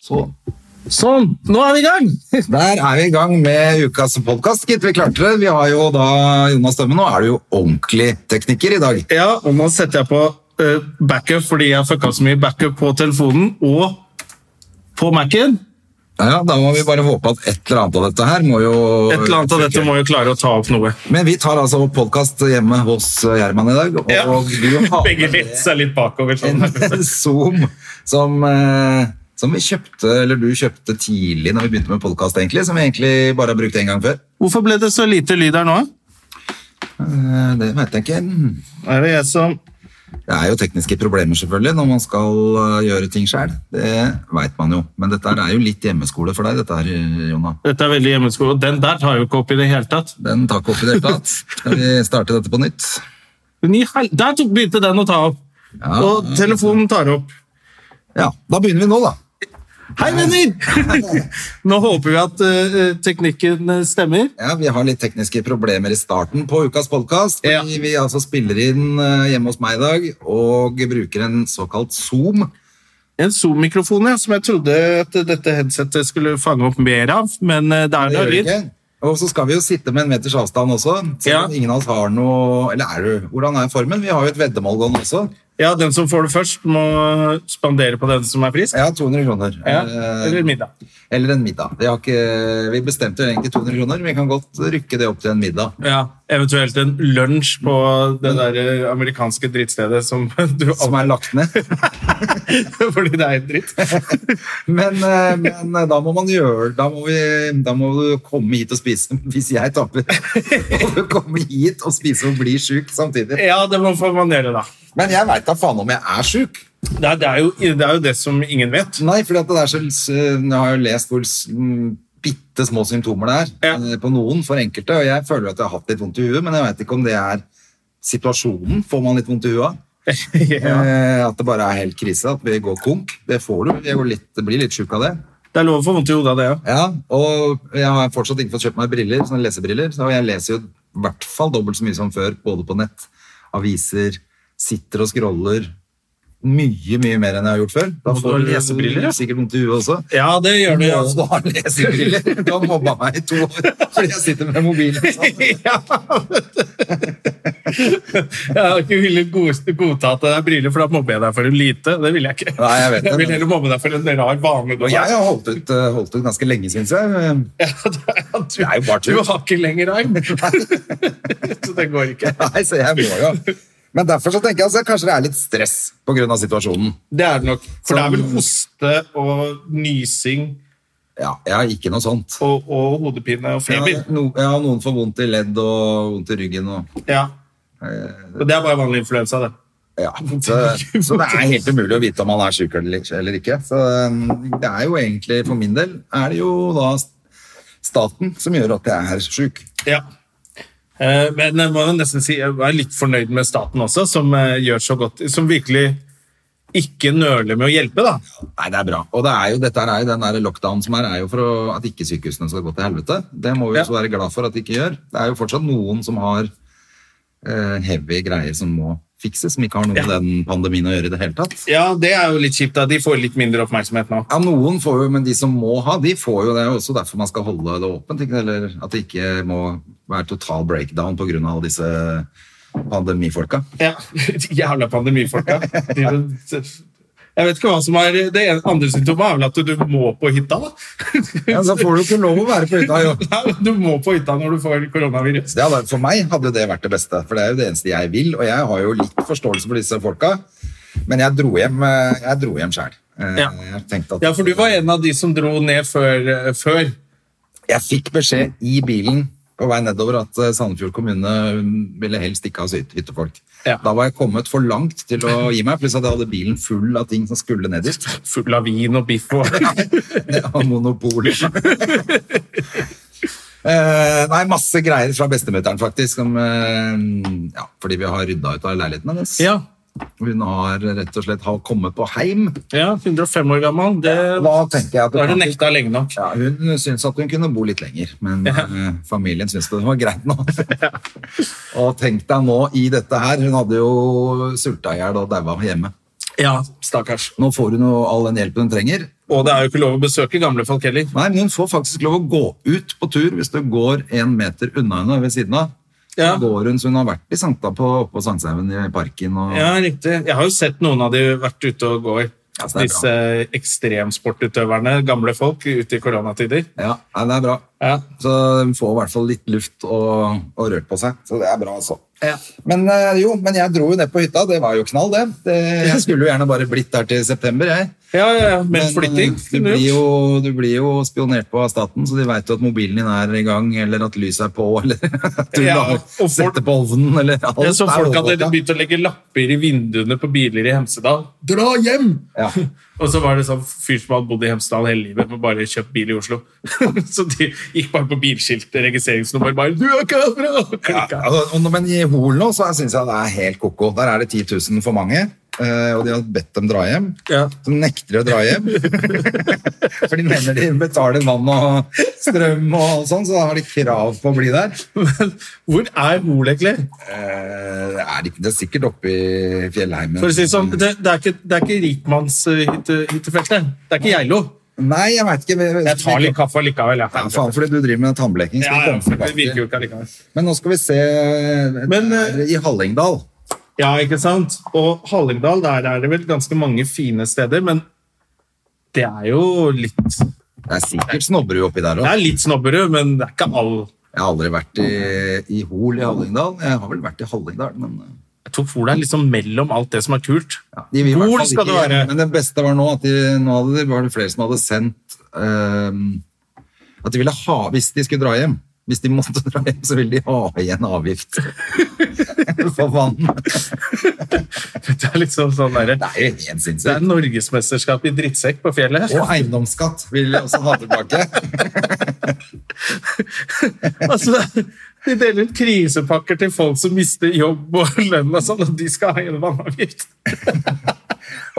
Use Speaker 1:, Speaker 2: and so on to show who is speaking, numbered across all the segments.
Speaker 1: Sånn. Sånn, nå er vi i gang!
Speaker 2: Der er vi i gang med ukas podkast, gitt. Vi klarte det. Vi har jo da Jonas Dømme. Nå er du jo ordentlig tekniker i dag.
Speaker 1: Ja, og nå setter jeg på eh, backup fordi jeg fucka så mye backup på telefonen og på Mac-en.
Speaker 2: Ja, ja, da må vi bare håpe at et eller annet av dette her må jo
Speaker 1: Et eller annet av dette må jo klare å ta opp noe.
Speaker 2: Men vi tar altså podkast hjemme hos eh, Gjerman i dag, og
Speaker 1: Ja.
Speaker 2: du har
Speaker 1: Begge litt seg litt bakover. Sånn.
Speaker 2: med en Zoom som eh, som vi kjøpte, eller du kjøpte tidlig når vi begynte med podkast, egentlig. Som vi egentlig bare har brukt én gang før.
Speaker 1: Hvorfor ble det så lite lyd her nå?
Speaker 2: Eh, Det vet jeg ikke.
Speaker 1: Er det jeg som
Speaker 2: Det er jo tekniske problemer selvfølgelig når man skal øh, gjøre ting selv. Det vet man jo. Men dette her er jo litt hjemmeskole for deg, dette her, Jonna.
Speaker 1: Dette er veldig hjemmeskole, og den der tar jo ikke opp i det hele tatt.
Speaker 2: Den tar ikke opp i det hele tatt. Skal vi starte dette på nytt?
Speaker 1: Men i hel... Der tok- begynte den å ta opp,
Speaker 2: Ja.
Speaker 1: og telefonen tar opp.
Speaker 2: Ja, da begynner vi nå, da.
Speaker 1: Hei, venner! Nå håper vi at eh, teknikken eh, stemmer.
Speaker 2: Ja, Vi har litt tekniske problemer i starten på ukas podkast.
Speaker 1: Ja.
Speaker 2: Vi altså spiller inn øh, hjemme hos meg i dag og bruker en såkalt Zoom.
Speaker 1: En Zoom-mikrofon, ja, som jeg trodde at dette headsetet skulle fange opp mer av, men eh, det er
Speaker 2: Det
Speaker 1: da
Speaker 2: gjør vi
Speaker 1: lyd.
Speaker 2: ikke. Og så skal vi jo sitte med en meters avstand også. Så
Speaker 1: Ja.
Speaker 2: ingen av oss har noe Eller er du, hvordan er formen? Vi har jo et veddemål gående også.
Speaker 1: Ja, den som får det først, må spandere på den som er frisk.
Speaker 2: Ja, 200 kroner.
Speaker 1: Ja,
Speaker 2: Eh,
Speaker 1: eller middag.
Speaker 2: Eller en middag. Vi, har ikke, vi bestemte jo egentlig 200 kroner, men vi kan godt rykke det opp til en middag.
Speaker 1: Ja, eventuelt en lunsj på
Speaker 2: Mm.
Speaker 1: det der eh, amerikanske drittstedet som du
Speaker 2: Som er lagt ned.
Speaker 1: Fordi det er en dritt.
Speaker 2: Men, eh, men da må man gjøre Da må, vi, da må du komme hit og spise. Hvis jeg taper, må du komme hit og spise og bli sjuk samtidig.
Speaker 1: Ja, det må får man gjøre, da.
Speaker 2: Men jeg veit da faen om jeg er sjuk.
Speaker 1: Det er, det, er jo, det er jo det som ingen vet.
Speaker 2: Nei, for det er så Jeg har jo lest hvor mm, bitte små symptomer det er
Speaker 1: Ja.
Speaker 2: eh, på noen for enkelte. Og jeg føler at jeg har hatt litt vondt i huet, men jeg veit ikke om det er situasjonen. Får man litt vondt i huet av?
Speaker 1: Ja.
Speaker 2: Eh, At det bare er helt krise, at vi går konk. Det får du. Jeg, går litt, jeg blir litt sjuk av det.
Speaker 1: Det er lov å få vondt i hodet av det òg.
Speaker 2: Ja, og jeg har fortsatt ikke fått kjøpt meg briller, sånne lesebriller. Så jeg leser jo i hvert fall dobbelt så mye som før, både på nett, aviser, sitter og scroller. Mye, mye mer enn jeg har gjort før. Da
Speaker 1: Og du har lesebriller, ja.
Speaker 2: sikkert vondt i huet også.
Speaker 1: Ja, det gjør det. altså.
Speaker 2: Må ha lesebriller. Du har mobba meg i to år fordi jeg sitter med mobilen. sånn.
Speaker 1: Ja. Jeg har ikke villet go- godta at det er briller, for da mobber jeg deg for en lite. Det vil jeg ikke.
Speaker 2: Nei, jeg vet det,
Speaker 1: vil
Speaker 2: men-
Speaker 1: heller mobbe deg for en rar vane. Du
Speaker 2: Og jeg
Speaker 1: har.
Speaker 2: har holdt ut, eh, holdt ut ganske lenge, syns jeg. Eh,
Speaker 1: Du,
Speaker 2: er jo bare
Speaker 1: du
Speaker 2: tull.
Speaker 1: har ikke lenger arm. Så det går ikke.
Speaker 2: Nei, så jeg må jo. Men derfor så tenker jeg altså, kanskje det er litt stress på grunn av situasjonen.
Speaker 1: Det er det nok. For det er vel
Speaker 2: Sånn.
Speaker 1: hoste og nysing
Speaker 2: Ja, jeg har ikke noe sånt.
Speaker 1: og, og hodepine og
Speaker 2: Jeg
Speaker 1: feber.
Speaker 2: har, no, jeg har noen får vondt i ledd og vondt i ryggen og
Speaker 1: Ja. Og det er bare vanlig influensa, det.
Speaker 2: ja. Så, så det er helt umulig å vite om man er syk eller eller ikke. Så um, det er jo egentlig, for min del, er det jo da staten som gjør at jeg er syk.
Speaker 1: Ja. Eh, Men jeg må jo nesten si jeg er litt fornøyd med staten også, som eh, gjør så godt, som virkelig ikke nøler med å hjelpe, da.
Speaker 2: Nei, det er bra. Og det er jo, dette er jo den der lockdown som er, er jo for å, at ikke sykehusene skal gå til helvete. Det må vi
Speaker 1: Ja.
Speaker 2: også være glad for at de ikke gjør. Det er jo fortsatt noen som har eh, heavy greier som må fikses, som ikke har noe med den pandemien å gjøre i det hele tatt.
Speaker 1: Ja, det er jo litt kjipt. da. De får litt mindre oppmerksomhet nå.
Speaker 2: Ja, noen får jo, men de som må ha, de får jo det. Det er jo også derfor man skal holde det åpent, ikke? eller at det ikke må være total breakdown på grunn av alle disse pandemifolka.
Speaker 1: Ja, De Jævla pandemifolka. De- Jeg vet ikke hva som er Det ene- andre symptomet er vel at du må på hytta, da.
Speaker 2: Ja, så får du ikke lov å være på hytta, jo.
Speaker 1: Nei, Du må på hytta når du får koronavirus.
Speaker 2: Det hadde, for meg hadde jo det vært det beste, for det er jo det eneste jeg vil, og jeg har jo litt forståelse for disse folka, men jeg dro hjem, eh, jeg dro hjem selv. Eh,
Speaker 1: Ja.
Speaker 2: Jeg tenkte at
Speaker 1: Ja, for du var en av de som dro ned før. eh, før.
Speaker 2: jeg fikk beskjed i bilen på vei nedover at eh, Sandefjord kommune mm, ville helst ikke ha sy- hyttefolk.
Speaker 1: Ja.
Speaker 2: Da var jeg kommet for langt til å gi meg. Pluss at jeg hadde bilen full av ting som skulle ned dit.
Speaker 1: Full av vin og biff og
Speaker 2: Av monopol. Eh, nei, masse greier fra bestemutteren, faktisk. Som, eh, ja, fordi vi har rydda ut av leiligheten hennes.
Speaker 1: Ja.
Speaker 2: Hun har rett og slett har kommet på heim.
Speaker 1: ja 105 år gammel. Det,
Speaker 2: Da tenker jeg at
Speaker 1: da er
Speaker 2: kan
Speaker 1: du
Speaker 2: ikke-
Speaker 1: nekta lenge nok.
Speaker 2: Ja, hun syntes at hun kunne bo litt lenger, men eh, familien syntes det var greit nå. og tenk deg nå i dette her, hun hadde jo sulta i hjel og daua hjemme.
Speaker 1: Ja, stakkars.
Speaker 2: Nå får hun jo all den hjelpen hun trenger.
Speaker 1: Og det er jo ikke lov å besøke gamle folk heller.
Speaker 2: Nei, men hun får faktisk lov å gå ut på tur hvis du går en meter unna henne ved siden av.
Speaker 1: Ja.
Speaker 2: Så Går hun, så hun har vært i Sankta på, oppå Sankthanshaugen i parken. Og,
Speaker 1: Ja, riktig. Jeg har jo sett noen av de vært ute og går.
Speaker 2: Ja, så det er
Speaker 1: Disse ekstremsportutøverne, gamle folk, ute i koronatider.
Speaker 2: Ja, nei, det er bra.
Speaker 1: Ja.
Speaker 2: Så hun får i hvert fall litt luft og, og rørt på seg. Så det er bra, altså. Men eh, jo, men jeg dro jo ned på hytta. Det var jo knall, det. det jeg skulle jo gjerne bare blitt der til september, jeg.
Speaker 1: Ja, ja, ja. Men
Speaker 2: eh,
Speaker 1: flytting
Speaker 2: du
Speaker 1: kunne
Speaker 2: blir,
Speaker 1: du
Speaker 2: jo, du blir jo spionert på av staten, så de veit jo at mobilen din er i gang, eller at lyset er på, eller at du
Speaker 1: Ja,
Speaker 2: la-
Speaker 1: og folk-
Speaker 2: setter på ovnen, eller alt.
Speaker 1: jeg så
Speaker 2: er
Speaker 1: folk hadde
Speaker 2: overvåket.
Speaker 1: begynt å legge lapper i vinduene på biler i Hemsedal. Dra hjem!
Speaker 2: Ja.
Speaker 1: Og så var det sånn fyr som hadde bodd i Hemsedal hele livet, men bare kjøpt bil i Oslo. så de gikk bare på bilskilt, registreringsnummer, bare 'Du er ikke herfra!' og
Speaker 2: Ja,
Speaker 1: klikket.
Speaker 2: altså, og- men i Hol nå så syns jeg det er helt koko. Der er det 10 000 for mange, eh, og de har bedt dem dra hjem.
Speaker 1: Ja.
Speaker 2: Så nekter de å dra hjem. For de mener de betaler vann og strøm og alt sånn, så da har de krav på å bli der.
Speaker 1: Men hvor er Hol, egentlig?
Speaker 2: Eh, det er, de, det er sikkert oppe i fjellheimen.
Speaker 1: For å si det sånn, det, det er ikke, det er ikke rikmannshyttefeltet. Det er ikke Geilo.
Speaker 2: Nei, jeg veit ikke. vi-
Speaker 1: Jeg tar litt kaffe likevel, jeg.
Speaker 2: Ja, faen, fordi du driver med tannbleking.
Speaker 1: Ja,
Speaker 2: skal
Speaker 1: ja,
Speaker 2: vi komme
Speaker 1: det
Speaker 2: tilbake
Speaker 1: virker
Speaker 2: til.
Speaker 1: jo ikke allikevel.
Speaker 2: Men nå skal vi se eh, det
Speaker 1: Men, eh,
Speaker 2: er I Hallingdal.
Speaker 1: Ja, ikke sant? Og Hallingdal, der er det vel ganske mange fine steder, men det er jo litt Det
Speaker 2: Det er sikkert Snobberud oppi der òg.
Speaker 1: er litt snobberud, men det er ikke all
Speaker 2: Jeg har aldri vært i, i Hol i Hallingdal. Jeg har vel vært i Hallingdal, men eh,
Speaker 1: Jeg tok for deg liksom mellom alt det som er kult.
Speaker 2: ja, de vil i hvert
Speaker 1: Hol
Speaker 2: fall
Speaker 1: skal
Speaker 2: ikke
Speaker 1: det være.
Speaker 2: hjem. Men det beste var nå at de, nå hadde, det- var det flere som hadde sendt ehm, At de ville ha Hvis de skulle dra hjem, hvis de måtte dra hjem, så ville de ha igjen avgift. For vann.
Speaker 1: Det er liksom sånn der,
Speaker 2: Det er jo helt
Speaker 1: Det er
Speaker 2: sinnssykt.
Speaker 1: norgesmesterskap i drittsekk på fjellet.
Speaker 2: Og eiendomsskatt vil de også ha tilbake.
Speaker 1: Altså, de deler ut krisepakker til folk som mister jobb og lønn og sånn, og de skal ha en vannavgift.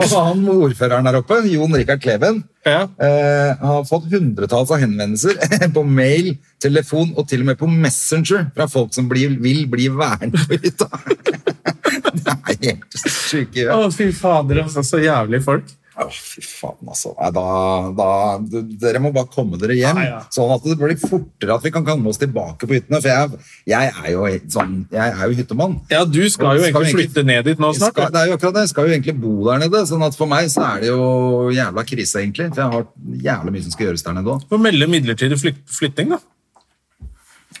Speaker 2: Og så han ordføreren der oppe, Jon Rikard Kleven,
Speaker 1: Ja.
Speaker 2: eh, har fått hundretalls av henvendelser på mail, telefon og til og med på Messenger fra folk som blir, vil bli værende på hytta. Det er helt sjuke
Speaker 1: Å,
Speaker 2: gjør.
Speaker 1: fy fader, altså. Så jævlig folk.
Speaker 2: Å, fy faen, altså. Nei, da, da, d- dere må bare komme dere hjem,
Speaker 1: Ja, ja.
Speaker 2: sånn at det blir fortere at vi kan komme oss tilbake på hyttene. For jeg, jeg, er, jo helt sånn, jeg er jo hyttemann.
Speaker 1: Ja, du skal jo egentlig flytte ned dit nå
Speaker 2: Jeg
Speaker 1: snart.
Speaker 2: Skal, det er jo akkurat det. Jeg skal jo egentlig bo der nede, sånn at for meg så er det jo jævla krise, egentlig. For jeg har jævla mye som skal gjøres der nede òg.
Speaker 1: Du får melde midlertidig flykt, flytting, da.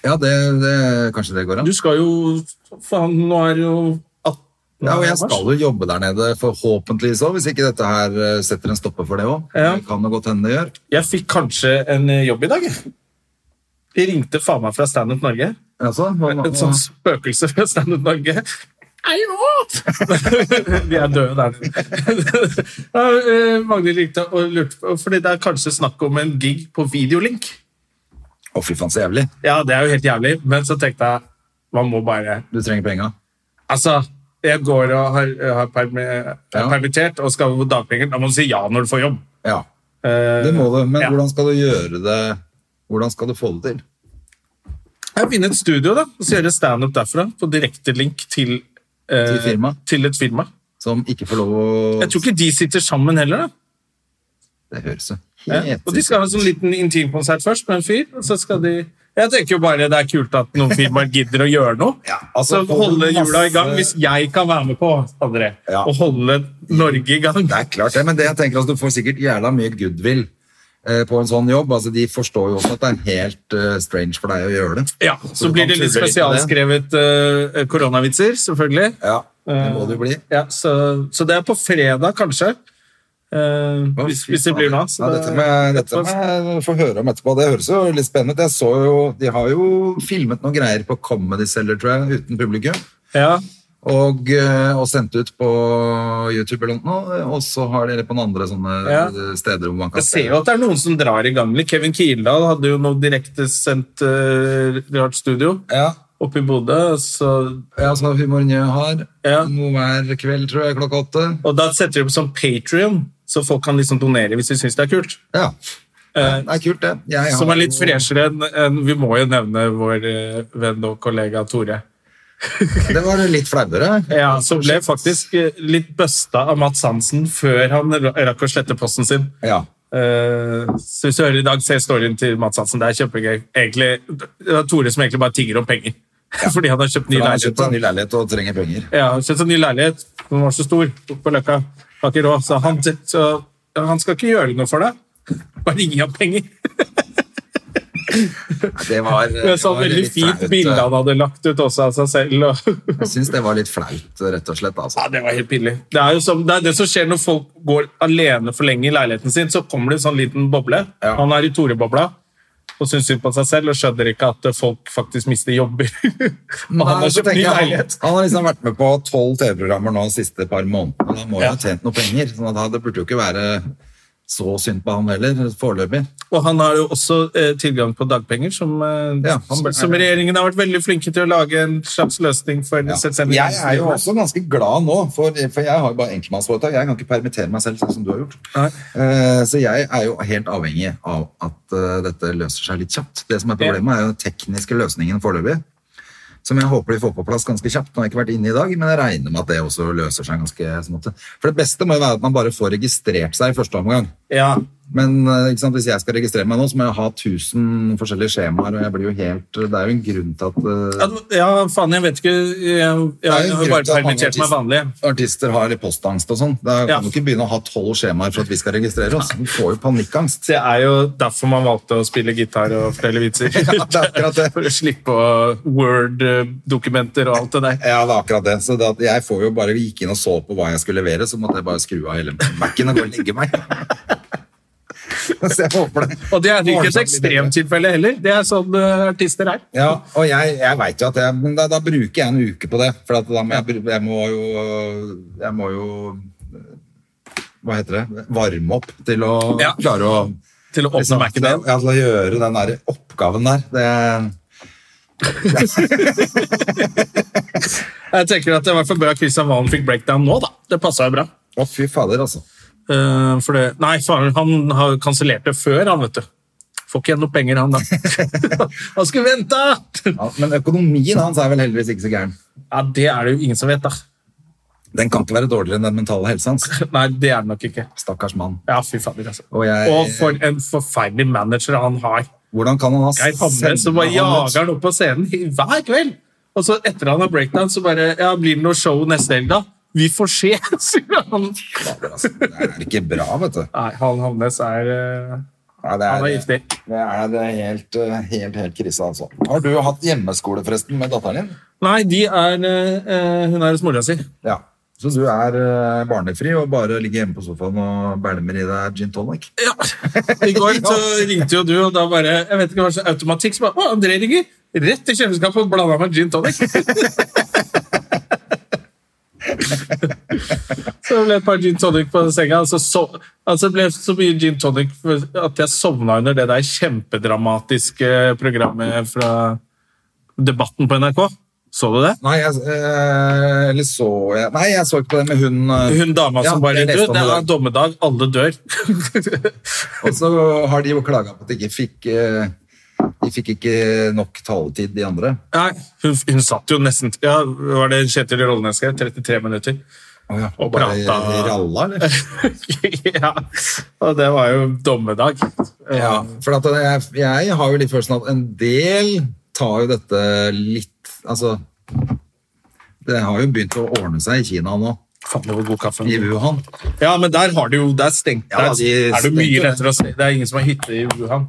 Speaker 2: Ja, det, det, kanskje det går an.
Speaker 1: Du skal jo Faen, nå er det jo 18.
Speaker 2: Ja, og jeg skal jo jobbe der nede, forhåpentligvis òg, hvis ikke dette her eh, setter en stopper for det òg.
Speaker 1: Ja.
Speaker 2: Det kan jo godt hende det gjør.
Speaker 1: Jeg fikk kanskje en eh, jobb i dag, jeg. De ringte faen meg fra Stand Up Norge.
Speaker 2: Altså, hva- hva-
Speaker 1: Eh, Et sånt sånn spøkelse fra Stand Up Norge. Eio! De er døde der nede. Ja, eh, Magnhild ringte og lurte på Fordi det er kanskje snakk om en gig på videolink.
Speaker 2: Å, fy faen, så jævlig.
Speaker 1: Ja, det er jo helt jævlig, men så tenkte jeg man må bare
Speaker 2: Du trenger penga.
Speaker 1: Altså, jeg går og har, har permi, er
Speaker 2: Ja.
Speaker 1: permittert og skal på dagpenger. Da må du si ja når du får jobb.
Speaker 2: Ja,
Speaker 1: Eh,
Speaker 2: det må du. Men
Speaker 1: ja.
Speaker 2: hvordan skal du gjøre det Hvordan skal du få det til?
Speaker 1: Jeg finner et studio da, og så gjør jeg stand-up derfra, på direkte link til, eh,
Speaker 2: Til firma?
Speaker 1: til et firma.
Speaker 2: Som ikke får lov å
Speaker 1: Jeg tror ikke de sitter sammen heller. da.
Speaker 2: Det høres jo
Speaker 1: Eh,
Speaker 2: helt
Speaker 1: Og De skal ha en sånn liten intimkonsert først med en fyr. og så skal de... Jeg tenker jo bare det er kult at noen firmaer gidder å gjøre noe.
Speaker 2: Ja, altså,
Speaker 1: så holde
Speaker 2: masse-
Speaker 1: hjula i gang hvis jeg kan være med på André,
Speaker 2: Ja.
Speaker 1: og holde Norge i gang.
Speaker 2: Det er klart det, men det jeg tenker altså, du får sikkert jævla mye goodwill eh, på en sånn jobb. Altså, de forstår jo også at det er helt eh, strange for deg å gjøre det.
Speaker 1: Ja,
Speaker 2: du
Speaker 1: Så blir
Speaker 2: kan
Speaker 1: det litt
Speaker 2: tulle litt med det.
Speaker 1: spesialskrevet eh, koronavitser, selvfølgelig. Eh,
Speaker 2: Ja, det må det jo bli.
Speaker 1: Ja, så, så det er på fredag, kanskje. Eh, hvis, hvis det blir noe annet. så
Speaker 2: Ja,
Speaker 1: det-
Speaker 2: dette må jeg- dette må jeg få høre om etterpå. Det høres jo litt spennende ut. Jeg så jo, De har jo filmet noen greier på Comedy Cellar, tror jeg, uten publikum.
Speaker 1: Ja,
Speaker 2: Og, eh, og sendt ut på YouTube eller noe, og så har dere på noen andre sånne
Speaker 1: Ja.
Speaker 2: eh, steder hvor man kan
Speaker 1: Jeg ser jo at det er noen som drar i gang. litt. Kevin Kildahl hadde jo noe direktesendt uh, rart studio
Speaker 2: Ja,
Speaker 1: oppe i Bodø. Så,
Speaker 2: ja så Humor Njø har
Speaker 1: Ja.
Speaker 2: noe hver kveld, tror jeg, klokka åtte.
Speaker 1: og da setter de opp som Patrion, så folk kan liksom donere hvis de syns det er kult.
Speaker 2: Ja,
Speaker 1: Eh,
Speaker 2: det er kult, det. Jeg har
Speaker 1: som er litt
Speaker 2: jo-
Speaker 1: freshere enn enn- Vi må jo nevne vår eh, venn og kollega Tore.
Speaker 2: Det var litt flauere.
Speaker 1: Ja, Som ble faktisk eh, litt busta av Mats Hansen før han ra- rakk å slette posten sin.
Speaker 2: Ja.
Speaker 1: Eh, så hvis du hører i dag, se storyen til Mats Hansen. Det er kjempegøy. Egentlig, det er Tore som egentlig bare tigger om penger. Fordi han har kjøpt ny
Speaker 2: For han har
Speaker 1: leilighet.
Speaker 2: kjøpt seg ny leilighet og trenger penger.
Speaker 1: Ja, han har kjøpt seg ny leilighet. Den var så stor oppe på Løkka. Var ikke råd, så han, så han skal ikke gjøre noe for deg. Bare gi ham penger.
Speaker 2: Det var, det
Speaker 1: Det er sånn
Speaker 2: var
Speaker 1: veldig
Speaker 2: litt
Speaker 1: fint
Speaker 2: flaut.
Speaker 1: bilde han hadde lagt ut også av seg selv. Og
Speaker 2: Jeg syns det var litt flaut, rett og slett. Altså.
Speaker 1: ja, det var helt pinlig. Det er jo som, det, er det som skjer når folk går alene for lenge i leiligheten sin, så kommer det en sånn liten boble.
Speaker 2: Ja.
Speaker 1: Han er i Tore-bobla og syns synd på seg selv og skjønner ikke at folk faktisk mister jobber. og han
Speaker 2: Nei,
Speaker 1: har
Speaker 2: så
Speaker 1: kjøpt
Speaker 2: tenker
Speaker 1: ny
Speaker 2: jeg,
Speaker 1: leilighet.
Speaker 2: Han, han har liksom vært med på tolv TV-programmer nå de siste par månedene. Han må jo
Speaker 1: Ja.
Speaker 2: ha tjent noe penger, så sånn at det burde jo ikke være så synd på han heller, foreløpig.
Speaker 1: Og han har jo også eh, tilgang på dagpenger, som, eh,
Speaker 2: Ja, han-
Speaker 1: som, som regjeringen har vært veldig flinke til å lage en slags løsning for
Speaker 2: Ja.
Speaker 1: selvstendig
Speaker 2: Jeg er jo
Speaker 1: næringsdrivende.
Speaker 2: også ganske glad nå, for, for jeg har jo bare enkeltmannsforetak. Jeg kan ikke permittere meg selv sånn som du har gjort.
Speaker 1: Nei.
Speaker 2: Eh, Så jeg er jo helt avhengig av at eh, dette løser seg litt kjapt. Det som er problemet, er jo den tekniske løsningen foreløpig. Som jeg håper vi får på plass ganske kjapt. Nå har jeg ikke vært inne i dag, men jeg regner med at det også løser seg ganske sånn. at- For det beste må jo være at man bare får registrert seg i første omgang.
Speaker 1: Ja,
Speaker 2: Men eh, ikke sant, hvis jeg skal registrere meg nå, så må jeg ha 1000 forskjellige skjemaer, og jeg blir jo helt Det er jo en grunn til at eh,
Speaker 1: Ja, ja, faen, jeg vet ikke. Jeg, jeg,
Speaker 2: er jo
Speaker 1: jeg har jo
Speaker 2: grunn
Speaker 1: bare
Speaker 2: til at mange
Speaker 1: permittert meg vanlig.
Speaker 2: artister har litt postangst og sånn. Da
Speaker 1: Ja.
Speaker 2: kan du ikke begynne å ha tolv skjemaer for at vi skal registrere oss. Vi får jo panikkangst.
Speaker 1: Det er jo derfor man valgte å spille gitar og fortelle vitser.
Speaker 2: Ja, det er akkurat det.
Speaker 1: For å slippe å- Word-dokumenter og alt det der.
Speaker 2: Ja, det er akkurat det. Så det at jeg får jo bare vi gikk inn og så på hva jeg skulle levere, så måtte jeg bare skru av hele Mac-en og gå og legge meg. Så jeg håper det.
Speaker 1: Og det er ikke
Speaker 2: Morgensamt
Speaker 1: et
Speaker 2: blir bedre.
Speaker 1: ekstremtilfelle heller. Det er sånn eh, artister er.
Speaker 2: Ja, og jeg, jeg vet jo at jeg, men da, da bruker jeg en uke på det, for at da må jeg, bru- jeg må jo, jeg må jo, hva heter det, varme opp til å
Speaker 1: Ja.
Speaker 2: klare å
Speaker 1: Til å åpne
Speaker 2: liksom,
Speaker 1: Mac-en igjen.
Speaker 2: Ja, til å gjøre den der oppgaven der. Det,
Speaker 1: Jeg tenker at det er i hvert fall bra Christian Valen fikk breakdown nå, da. Det passa jo bra.
Speaker 2: å fy fader, altså.
Speaker 1: Eh, for det, nei, faen, han har jo kansellert det før, han, vet du. Får ikke igjen noe penger, han da. han skulle vente!
Speaker 2: Ja, men økonomien hans er vel heldigvis ikke så gæren.
Speaker 1: Ja, det er det jo ingen som vet, da.
Speaker 2: Den kan ikke være dårligere enn den mentale helsa hans.
Speaker 1: Nei, det er det nok ikke.
Speaker 2: Stakkars mann.
Speaker 1: Ja, fy fader, altså.
Speaker 2: Og jeg-
Speaker 1: og for en forferdelig manager han har.
Speaker 2: Hvordan kan han ha
Speaker 1: Geir Hamre som bare
Speaker 2: han ut?
Speaker 1: jager han opp på scenen i- hver kveld. Og så etter han har breakdown, så bare Ja, blir det noe show neste helg, da? Vi får se, sier han.
Speaker 2: Fader, altså, Det er ikke bra, vet du.
Speaker 1: Nei, han Hamnes er eh,
Speaker 2: Ja, det
Speaker 1: Han er giftig.
Speaker 2: Det er det helt, eh, helt, helt krise, altså. Har du hatt hjemmeskole forresten med datteren din?
Speaker 1: Nei, de er eh, eh, Hun er hos mora si.
Speaker 2: Ja. Så du er eh, barnefri og bare ligger hjemme på sofaen og bælmer i deg gin tonic?
Speaker 1: Ja. I går så ringte jo du, og da bare Jeg vet ikke hva slags automatikk som bare Å, André ringer! Rett i kjøleskapet og blanda med gin tonic. så det ble et par gin tonic på senga. Altså, så, altså det ble så mye gin tonic for- at jeg sovna under det der kjempedramatiske programmet fra Debatten på NRK. Så du det?
Speaker 2: Nei, jeg, eh, eller så jeg Nei, jeg så ikke på det med hun. eh,
Speaker 1: Hun dama
Speaker 2: Ja,
Speaker 1: som bare
Speaker 2: jeg
Speaker 1: Du,
Speaker 2: leste om
Speaker 1: det
Speaker 2: i
Speaker 1: er
Speaker 2: dag.
Speaker 1: dommedag. Alle dør.
Speaker 2: Og så har de jo klaga på at de ikke fikk eh, De fikk ikke nok taletid, de andre.
Speaker 1: Nei, hun, hun satt jo nesten ja, Var det Kjetil Rollenes skrev? 33 minutter.
Speaker 2: Oh, ja.
Speaker 1: Og
Speaker 2: Bare
Speaker 1: prata-
Speaker 2: ralla, eller?
Speaker 1: ja, Og det var jo dommedag.
Speaker 2: Ja, for at jeg, jeg har jo litt følelsen av at en del tar jo dette litt Altså Det har jo begynt å ordne seg i Kina nå,
Speaker 1: Faen, det var god kaffe.
Speaker 2: i Wuhan.
Speaker 1: Ja, men der har de jo Det er stengt.
Speaker 2: Ja,
Speaker 1: der
Speaker 2: de
Speaker 1: er det jo mye
Speaker 2: stengte det.
Speaker 1: lettere å se. Det er ingen som har hytte i Wuhan.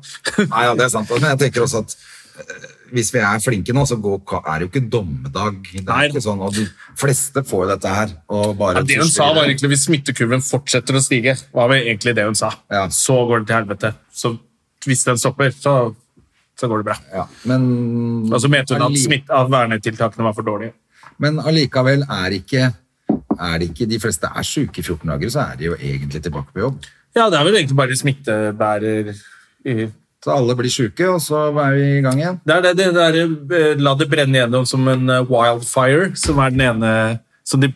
Speaker 2: Nei, ja, det er sant. Men jeg tenker også at eh, hvis vi er flinke nå, så går, ka- er det jo ikke dommedag. Det
Speaker 1: Nei.
Speaker 2: er ikke sånn, og De fleste får jo dette her. Og bare
Speaker 1: Ja, det hun sa, var egentlig hvis smittekurven fortsetter å stige, var vel egentlig det hun sa.
Speaker 2: Ja.
Speaker 1: Så går det til helvete. Så hvis den stopper, så, så går det bra.
Speaker 2: ja, Men
Speaker 1: Og så mente hun at,
Speaker 2: Alli-
Speaker 1: smitt, at vernetiltakene var for dårlige.
Speaker 2: Men allikevel er ikke, er det ikke De fleste er syke i 14 dager, så er de jo egentlig tilbake på jobb.
Speaker 1: Ja, det er vel egentlig bare smittebærer i
Speaker 2: Så alle blir syke, og så er vi i gang igjen.
Speaker 1: Det er det, det der eh, La det brenne gjennom som en eh, wildfire, som er den ene Som de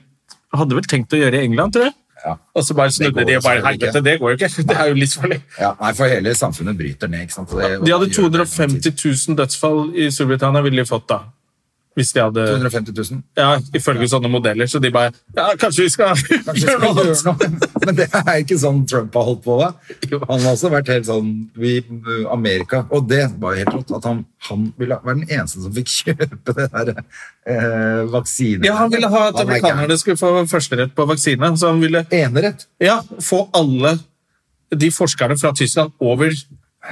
Speaker 1: hadde vel tenkt å gjøre i England, tror jeg.
Speaker 2: Ja.
Speaker 1: Og så bare snudde
Speaker 2: går
Speaker 1: de
Speaker 2: jo
Speaker 1: og bare
Speaker 2: selvfølgelig ikke.
Speaker 1: Helvete, det går jo ikke! Det er jo livsfarlig.
Speaker 2: Ja, nei, for hele samfunnet bryter ned, ikke sant? Og det-
Speaker 1: De hadde
Speaker 2: gjør det
Speaker 1: 250 000 dødsfall i Storbritannia, ville de fått da. Hvis de hadde
Speaker 2: 250 000.
Speaker 1: Ja, ifølge sånne modeller. Så de bare Ja, kanskje vi skal
Speaker 2: Kanskje
Speaker 1: gjøre
Speaker 2: vi
Speaker 1: noe
Speaker 2: skal
Speaker 1: annet!
Speaker 2: gjøre noe. Men det er ikke sånn Trump har holdt på med. Han har også vært helt sånn vi, Amerika, og det var jo helt rått at han, han ville være den eneste som fikk kjøpe det der eh, vaksinen.
Speaker 1: Ja, han ville ha at
Speaker 2: Han ble
Speaker 1: amerikanerne skulle få førsterett på vaksine. Så han ville
Speaker 2: gæren. Enerett.
Speaker 1: ja, få alle de forskerne fra Tyskland over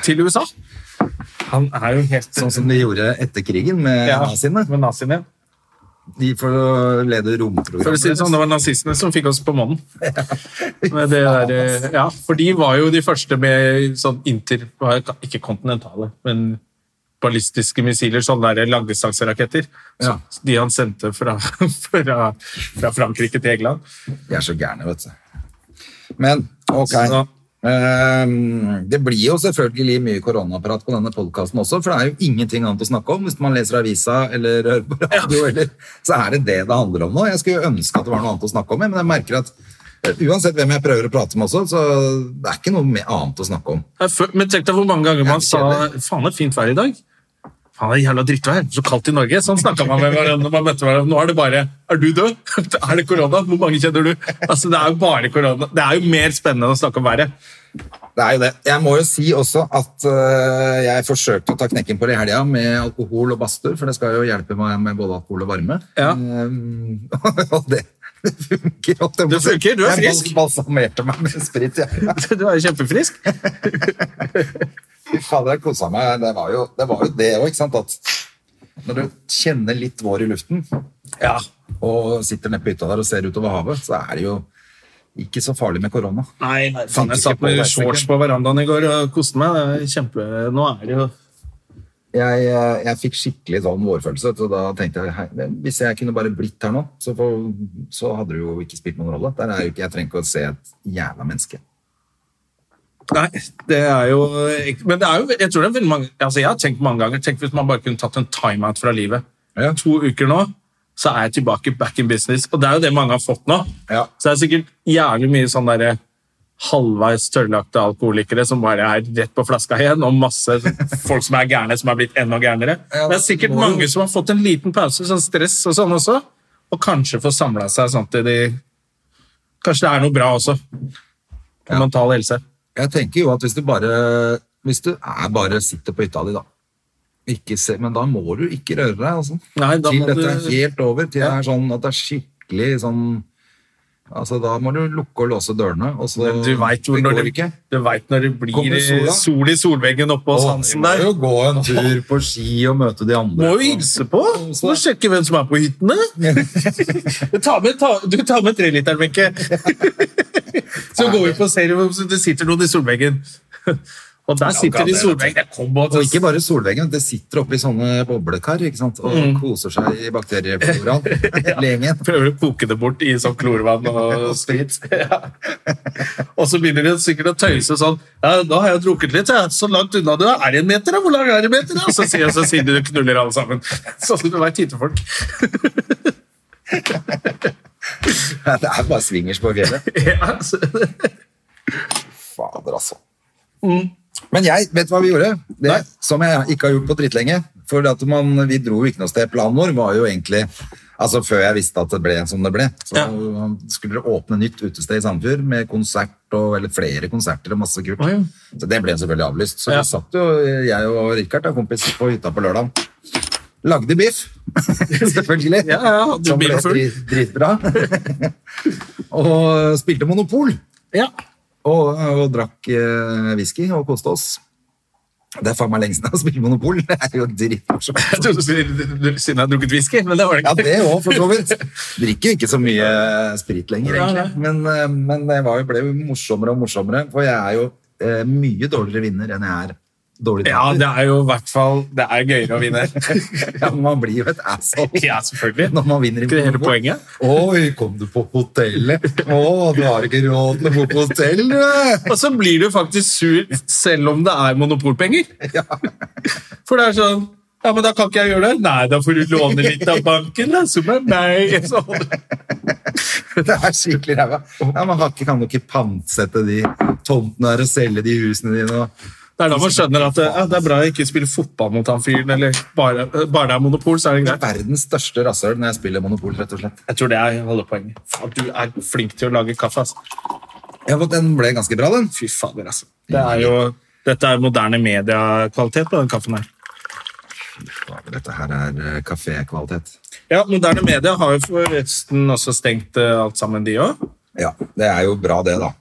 Speaker 1: til USA. Han er jo helt
Speaker 2: Sånn som de gjorde etter krigen med
Speaker 1: Ja,
Speaker 2: naziene.
Speaker 1: eh, Med naziene.
Speaker 2: De forleder romprogrammet. liksom.
Speaker 1: For å si det sånn, det var nazistene som fikk oss på månen. Med det der, eh, ja, for de var jo de første med sånn inter... Ikke kontinentale, men ballistiske missiler, sånne der langdistanseraketter.
Speaker 2: Ja.
Speaker 1: Så De han sendte fra, fra, fra Frankrike til England.
Speaker 2: De er så gærne, vet du. Men ok.
Speaker 1: Så-
Speaker 2: Ehm, det blir jo selvfølgelig mye koronaprat på denne podkasten også, for det er jo ingenting annet å snakke om. Hvis man leser avisa eller hører på radio, eller, så er det det det handler om nå. Jeg skulle jo ønske at det var noe annet å snakke om, men jeg merker at eh, uansett hvem jeg prøver å prate med også, så det er ikke noe mer annet å snakke om.
Speaker 1: Jeg fø- Men tenk deg hvor mange ganger man sa faen, det er fint vær i dag. Faen, det er jævla drittvær. Så kaldt i Norge. Sånn snakka man med hverandre når man møtte hverandre. Nå er det bare Er du død? Er det korona? Hvor mange kjenner du? Altså, Det er jo bare korona. Det er jo mer spennende å snakke om været.
Speaker 2: Det er jo det. Jeg må jo si også at øh, jeg forsøkte å ta knekken på det i helga med alkohol og badstur, for det skal jo hjelpe meg med både alkohol og varme.
Speaker 1: Ja.
Speaker 2: Ehm, og det, det funker. holdt jeg på
Speaker 1: Det
Speaker 2: å si.
Speaker 1: funker, du er
Speaker 2: jeg
Speaker 1: frisk.
Speaker 2: Jeg balsamerte meg med sprit. Jeg.
Speaker 1: Du er jo kjempefrisk.
Speaker 2: Fy fader, jeg kosa meg. Det var jo det var jo det òg, ikke sant. At når du kjenner litt vår i luften,
Speaker 1: Ja.
Speaker 2: og sitter nede på hytta der og ser utover havet, så er det jo ikke så farlig med korona.
Speaker 1: Nei, nei, faen, jeg satt med shorts på verandaen i går og koste meg. Det er Kjempe... Nå er det jo
Speaker 2: jeg, eh, jeg fikk skikkelig sånn vårfølelse, så da tenkte jeg hei, men hvis jeg kunne bare blitt her nå, så, får- så hadde det jo ikke spilt noen rolle. Der er jo ikke, jeg trenger ikke å se et jævla menneske.
Speaker 1: Nei, det er jo Men det er jo, jeg tror det er veldig mange altså Jeg har tenkt mange ganger Tenk hvis man bare kunne tatt en timeout fra livet.
Speaker 2: Ja.
Speaker 1: To uker nå, så er jeg tilbake back in business. Og det er jo det mange har fått nå.
Speaker 2: Ja.
Speaker 1: Så det er sikkert jævlig mye sånn derre halvveis tørrlagte alkoholikere som bare er rett på flaska igjen, og masse folk som er gærne, som er blitt enda gærnere.
Speaker 2: Ja,
Speaker 1: det er sikkert
Speaker 2: må jo-
Speaker 1: mange som har fått en liten pause, sånn stress og sånn også, og kanskje får samla seg sånn til de Kanskje det er noe bra også. For mental helse.
Speaker 2: Jeg tenker jo at hvis du bare, hvis du er bare sitter på hytta di, da ikke se, Men da må du ikke røre deg, altså.
Speaker 1: Nei, da
Speaker 2: til
Speaker 1: må
Speaker 2: dette
Speaker 1: du-
Speaker 2: er helt over. Til det er sånn at det er skikkelig sånn Altså, da må du lukke og låse dørene, og så
Speaker 1: Men du veit
Speaker 2: Det
Speaker 1: når,
Speaker 2: går
Speaker 1: det-
Speaker 2: ikke.
Speaker 1: du vet når det blir eh,
Speaker 2: Kommer sola?
Speaker 1: sol i solveggen oppe hos Hansen
Speaker 2: Å, vi
Speaker 1: der.
Speaker 2: må jo gå en tur på ski og møte de andre.
Speaker 1: Må jo hilse på!
Speaker 2: Så-
Speaker 1: Må sjekke hvem som er på hyttene. Ta med, ta, du tar med treliteren, Wenche. Så går vi på serie hvor det sitter noen i solveggen. Og der sitter de i solveggen. Det kom og-
Speaker 2: Og ikke bare solveggen, det sitter oppe i sånne boblekar ikke sant? og koser seg i bakteriefloraen hele gjengen.
Speaker 1: Prøver å koke det bort i sånn klorvann og sprit. Ja. Og så begynner de sikkert å tøyse sånn ja, 'Da har jeg drukket litt, jeg. Så langt unna du er. Er det en meter, da? Hvor lang er det en meter?' da?» Og så sier, så sier de det knuller alle sammen. Sånn du veit hyttefolk.
Speaker 2: Det er bare swingers på fjellet.
Speaker 1: Ja, så-
Speaker 2: Fader, altså. Men jeg, vet du hva vi gjorde? Det, som jeg ikke har gjort på drittlenge. For at man, vi dro jo ikke noe sted. Planen vår var jo egentlig Altså før jeg visste at det ble som det ble. Så skulle det åpne nytt utested i Sandefjord med konsert og eller flere konserter og masse kult.
Speaker 1: Å, ja.
Speaker 2: Så det ble jo selvfølgelig avlyst. Så
Speaker 1: Ja.
Speaker 2: vi satt jo, jeg og Richard, da, kompis, på hytta på lørdag. Lagde biff, selvfølgelig.
Speaker 1: Ja, ja, hadde
Speaker 2: Som ble
Speaker 1: biffen full.
Speaker 2: drit, dritbra. og spilte Monopol.
Speaker 1: ja.
Speaker 2: Og, og drakk eh, whisky og koste oss. Det er faen meg lenge siden jeg har spilt Monopol. Det er jo
Speaker 1: Jeg
Speaker 2: dritmorsomt.
Speaker 1: trodde du skulle si siden jeg har drukket whisky, men det var det
Speaker 2: Ja,
Speaker 1: ikke.
Speaker 2: det òg, for så vidt. Drikker jo ikke så mye eh, sprit lenger,
Speaker 1: Ja,
Speaker 2: egentlig. Men, eh, men det var jo, ble jo morsommere og morsommere, for jeg er jo eh, mye dårligere vinner enn jeg er dårlig
Speaker 1: Ja,
Speaker 2: teater.
Speaker 1: det er jo i hvert fall Det er gøyere å vinne.
Speaker 2: Ja, men man blir jo et asshole
Speaker 1: ja, selvfølgelig.
Speaker 2: når man vinner. i
Speaker 1: Ikke det hele
Speaker 2: fotball.
Speaker 1: poenget?
Speaker 2: Oi, kom du på hotellet? Å, du har ikke råd til å bo på hotell, du!
Speaker 1: Og så blir du faktisk sur selv om det er monopolpenger. For det er sånn Ja, men da kan ikke jeg gjøre det. Nei, da får du låne litt av banken, da. Som er meg. Så,
Speaker 2: Det er skikkelig ræva. Ja, man har ikke, kan jo ikke pantsette de tomtene her og selge de husene dine. Og...
Speaker 1: det er da man skjønner at ja, det er bra jeg ikke spiller fotball mot han fyren, eller bare, bare det er monopol, så er det
Speaker 2: Det er
Speaker 1: greit.
Speaker 2: verdens største rasshøl når jeg spiller Monopol, rett og slett.
Speaker 1: Jeg tror det er holdepoenget. Faen, du er flink til å lage kaffe, altså.
Speaker 2: Ja, men Den ble ganske bra, den.
Speaker 1: Fy fader, altså. Det er jo, dette er moderne mediekvalitet på den kaffen her.
Speaker 2: Dette her er eh, kafékvalitet.
Speaker 1: Ja, moderne media har jo forresten også stengt eh, alt sammen, de òg.
Speaker 2: Ja, det er jo bra, det, da.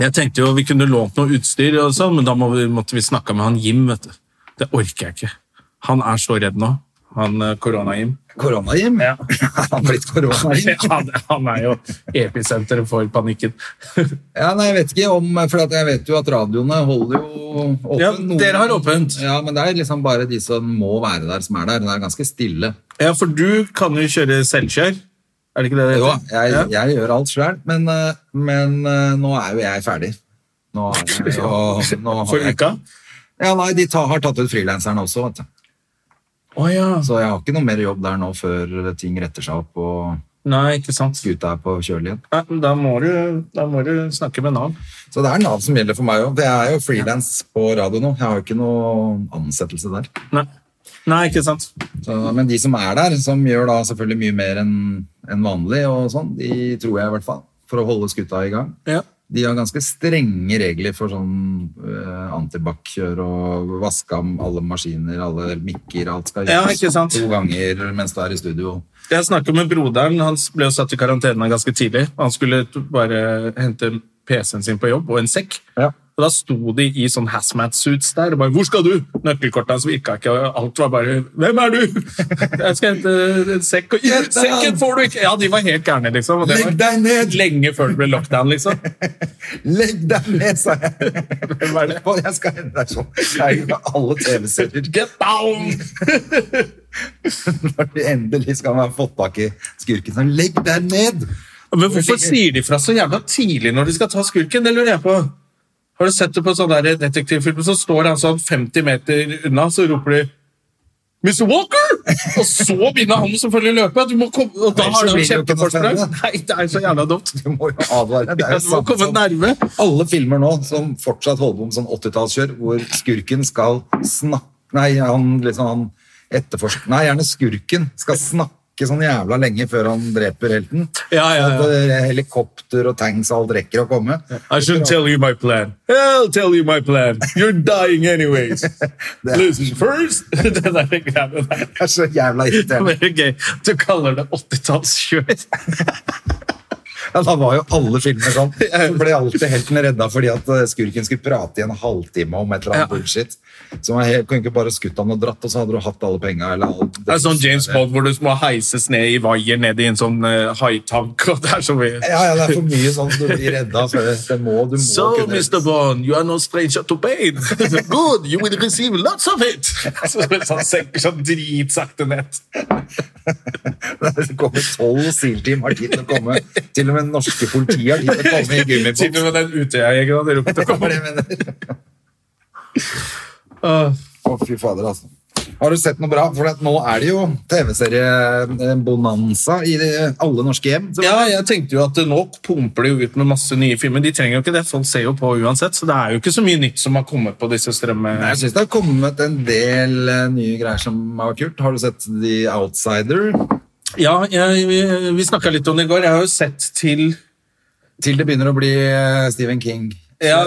Speaker 1: Jeg tenkte jo vi kunne lånt noe utstyr, og sånn, men da må vi, måtte vi snakke med han Jim. vet du. Det orker jeg ikke. Han er så redd nå, han eh, korona-Jim.
Speaker 2: Koronahjem?
Speaker 1: Ja.
Speaker 2: Han har blitt koronahjem.
Speaker 1: Han, han er jo episenteret for panikken.
Speaker 2: Ja, nei, jeg vet ikke om For at jeg vet jo at radioene holder jo åpent.
Speaker 1: Ja, dere har åpent.
Speaker 2: Ja, men det er liksom bare de som må være der, som er der. Det er ganske stille.
Speaker 1: Ja, for du kan jo kjøre selvkjør. Er det ikke det det
Speaker 2: Jo,
Speaker 1: heter?
Speaker 2: jeg,
Speaker 1: Ja.
Speaker 2: jeg gjør alt sjøl, men, eh, men eh, nå er jo jeg ferdig. Nå, er jeg, og, nå har
Speaker 1: For
Speaker 2: jeg-
Speaker 1: uka?
Speaker 2: Ja, nei, de ta, har tatt ut frilanserne også, vet du.
Speaker 1: Å ja.
Speaker 2: Så jeg har ikke noe mer jobb der nå før ting retter seg opp og
Speaker 1: Nei, ikke sant.
Speaker 2: skuta er på kjøl igjen.
Speaker 1: Nei, men da, må du, da må du snakke med Nav.
Speaker 2: Så det er Nav som gjelder for meg òg. Det er jo frilans på radio nå. Jeg har jo ikke noe ansettelse der.
Speaker 1: Nei. Nei, ikke sant.
Speaker 2: Så, men de som er der, som gjør da selvfølgelig mye mer enn enn vanlig, og sånn, de tror jeg i hvert fall, for å holde skuta i gang.
Speaker 1: Ja.
Speaker 2: De har ganske strenge regler for sånn uh, antibac-kjør og vaske om alle maskiner, alle mikker, alt skal
Speaker 1: Ja,
Speaker 2: gjøres
Speaker 1: ikke sant.
Speaker 2: to ganger mens du er i studio.
Speaker 1: Jeg snakket med broderen. Han ble jo satt i karantene ganske tidlig. Han skulle t- bare hente PC-en sin på jobb og en sekk.
Speaker 2: Ja.
Speaker 1: Og da sto de i sånn hazmat-suits der og bare 'Hvor skal du?' Nøkkelkortet hans virka ikke, og alt var bare 'Hvem er du?' 'Jeg skal hente en sekk.' Og, «Ja, 'Sekken får du ikke!' Ja, de var helt gærne, liksom. Og det
Speaker 2: Legg
Speaker 1: var
Speaker 2: deg ned!
Speaker 1: lenge før det ble lockdown, liksom.
Speaker 2: Legg deg ned, sa jeg!
Speaker 1: Hvem er det?
Speaker 2: Jeg skal hente deg sånn. Det er jo med alle TV-serier.
Speaker 1: Get down!
Speaker 2: Når de endelig skal man ha fått tak i skurken. Sånn, legg deg ned!
Speaker 1: Men hvorfor sier de fra så jævla tidlig når de skal ta skurken? Det lurer jeg på. Har du sett det på sånne der detektivfilmer, så står han sånn 50 meter unna, så roper de Mr. Walker! Og så begynner han selvfølgelig å løpe. Du må komme, og da
Speaker 2: Ellers
Speaker 1: har
Speaker 2: så
Speaker 1: han
Speaker 2: blir det jo ikke noe
Speaker 1: kjempeforsprang.
Speaker 2: spennende.
Speaker 1: Nei, det er så jævla dumt.
Speaker 2: Du må jo advare. Det er jo
Speaker 1: Ja, Du må
Speaker 2: samme
Speaker 1: komme
Speaker 2: som-
Speaker 1: nærme.
Speaker 2: Alle filmer nå som fortsatt holder på med sånn 80-tallskjør, hvor skurken skal snakke Nei, han liksom han etterforsker Nei, gjerne skurken skal snakke sånn jævla lenge før han dreper helten.
Speaker 1: Ja, ja,
Speaker 2: At,
Speaker 1: ja.
Speaker 2: eh, Helikopter og tanks og alt rekker å komme.
Speaker 1: I should tell you my plan. I'll tell you my plan. You're dying anyways. Listen first. Det der greiene der.
Speaker 2: Det er så jævla irriterende.
Speaker 1: Veldig gøy. Du kaller det 80-tallskjør.
Speaker 2: Ja, da var jo alle filmer sånn. Så ble alltid helten redda fordi at eh, skurken skulle prate i en halvtime om et eller annet
Speaker 1: Ja.
Speaker 2: bullshit. Så man helt, kunne ikke bare skutt han og dratt, og så hadde du hatt alle penga. eller alt.
Speaker 1: Det er sånn James Bond hvor du må heises ned i vaier ned i en sånn eh, haitank. og det er så mye.
Speaker 2: Ja, ja, det er for mye sånn du blir redda. for Det, det må, du må
Speaker 1: So,
Speaker 2: kunne
Speaker 1: Mr. Bond, you are no stranger to pain. Good, you will receive lots of it. Så mens han senker sånn dritsakte ned.
Speaker 2: Det kommer tolv SEAL-team har tid til å komme. Til og med norske politi har tid til å komme i
Speaker 1: Til og
Speaker 2: gummibåt.
Speaker 1: med den Utøya-jegeren hadde rukket å
Speaker 2: Det var
Speaker 1: komme.
Speaker 2: det jeg mener.
Speaker 1: Ah,
Speaker 2: Å, fy fader, altså. Har du sett noe bra? For at nå er det jo TV-serie-bonanza i de- alle norske hjem. Så
Speaker 1: Ja, jeg tenkte jo at eh, nå pumper de jo ut med masse nye filmer. De trenger jo ikke det, folk ser jo på uansett. Så det er jo ikke så mye nytt som har kommet på disse strømme...
Speaker 2: Jeg syns det har kommet en del eh, nye greier som har vært kult. Har du sett The Outsider?
Speaker 1: Ja, jeg, vi, vi snakket litt om det i går. Jeg har jo sett til...
Speaker 2: Til det begynner å bli eh, Stephen King.
Speaker 1: Ja,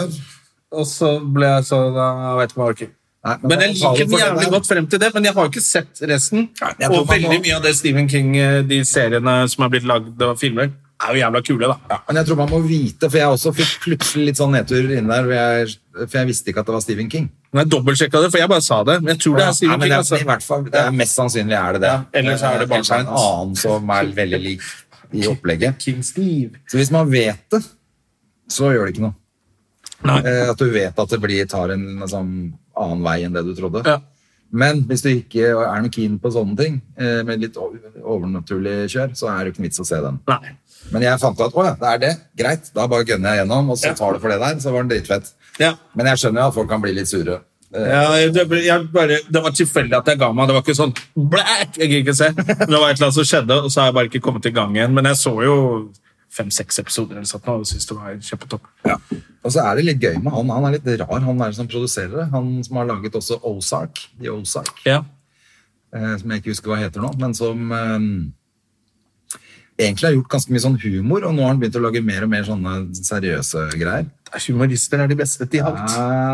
Speaker 1: og så ble jeg sånn Jeg vet ikke om jeg orker.
Speaker 2: Nei,
Speaker 1: Men jeg
Speaker 2: da
Speaker 1: liker
Speaker 2: betaler
Speaker 1: den
Speaker 2: for
Speaker 1: jævlig
Speaker 2: der.
Speaker 1: godt frem til det, men jeg har jo ikke sett resten.
Speaker 2: jeg tror
Speaker 1: Og
Speaker 2: man må-
Speaker 1: veldig mye av det Stephen King, eh, de seriene som er blitt lagd av filmer, er jo jævla kule, da.
Speaker 2: Men jeg tror man må vite, for jeg også fikk plutselig litt sånn nedtur inne der, for jeg, for jeg visste ikke at det var Stephen King.
Speaker 1: Men jeg dobbeltsjekka det, for jeg bare sa det. Men jeg tror det er
Speaker 2: Ja,
Speaker 1: Stephen
Speaker 2: men
Speaker 1: King.
Speaker 2: det,
Speaker 1: Altså.
Speaker 2: er, i hvert fall, det er Mest sannsynlig er det det.
Speaker 1: Ja, ellers er det bare
Speaker 2: Ellers en annen som er veldig lik i opplegget.
Speaker 1: King Steve.
Speaker 2: Så hvis man vet det, så gjør det ikke noe.
Speaker 1: Nei.
Speaker 2: Eh, At du vet at det blir, tar en liksom, annen vei enn det du trodde.
Speaker 1: Ja.
Speaker 2: Men hvis du ikke er noe keen på sånne ting, eh, med litt o- overnaturlig kjør, så er det ikke noe vits å se den.
Speaker 1: Nei.
Speaker 2: Men jeg fant ut at å ja, det er det. Greit, da bare gønner jeg gjennom, og så
Speaker 1: Ja.
Speaker 2: tar du for det der. Så var den dritfett.
Speaker 1: Ja.
Speaker 2: Men jeg skjønner jo at folk kan bli litt sure. Eh,
Speaker 1: Ja, jeg, det ble- jeg bare, det var tilfeldig at jeg ga meg. Det var ikke sånn blæk, jeg gikk ikke se. Men Det var et eller annet som skjedde, og så har jeg bare ikke kommet i gang igjen. Men jeg så jo fem-seks episoder eller sånt, nå, og syntes det var kjempetopp.
Speaker 2: Og så er det litt gøy med han. Han er litt rar, han der som produserer det. Han som har laget også Ozark, The Ozark,
Speaker 1: Ja.
Speaker 2: eh, som jeg ikke husker hva heter nå, men som eh, egentlig har gjort ganske mye sånn humor, og nå har han begynt å lage mer og mer sånne seriøse greier.
Speaker 1: Humorister er de beste til alt.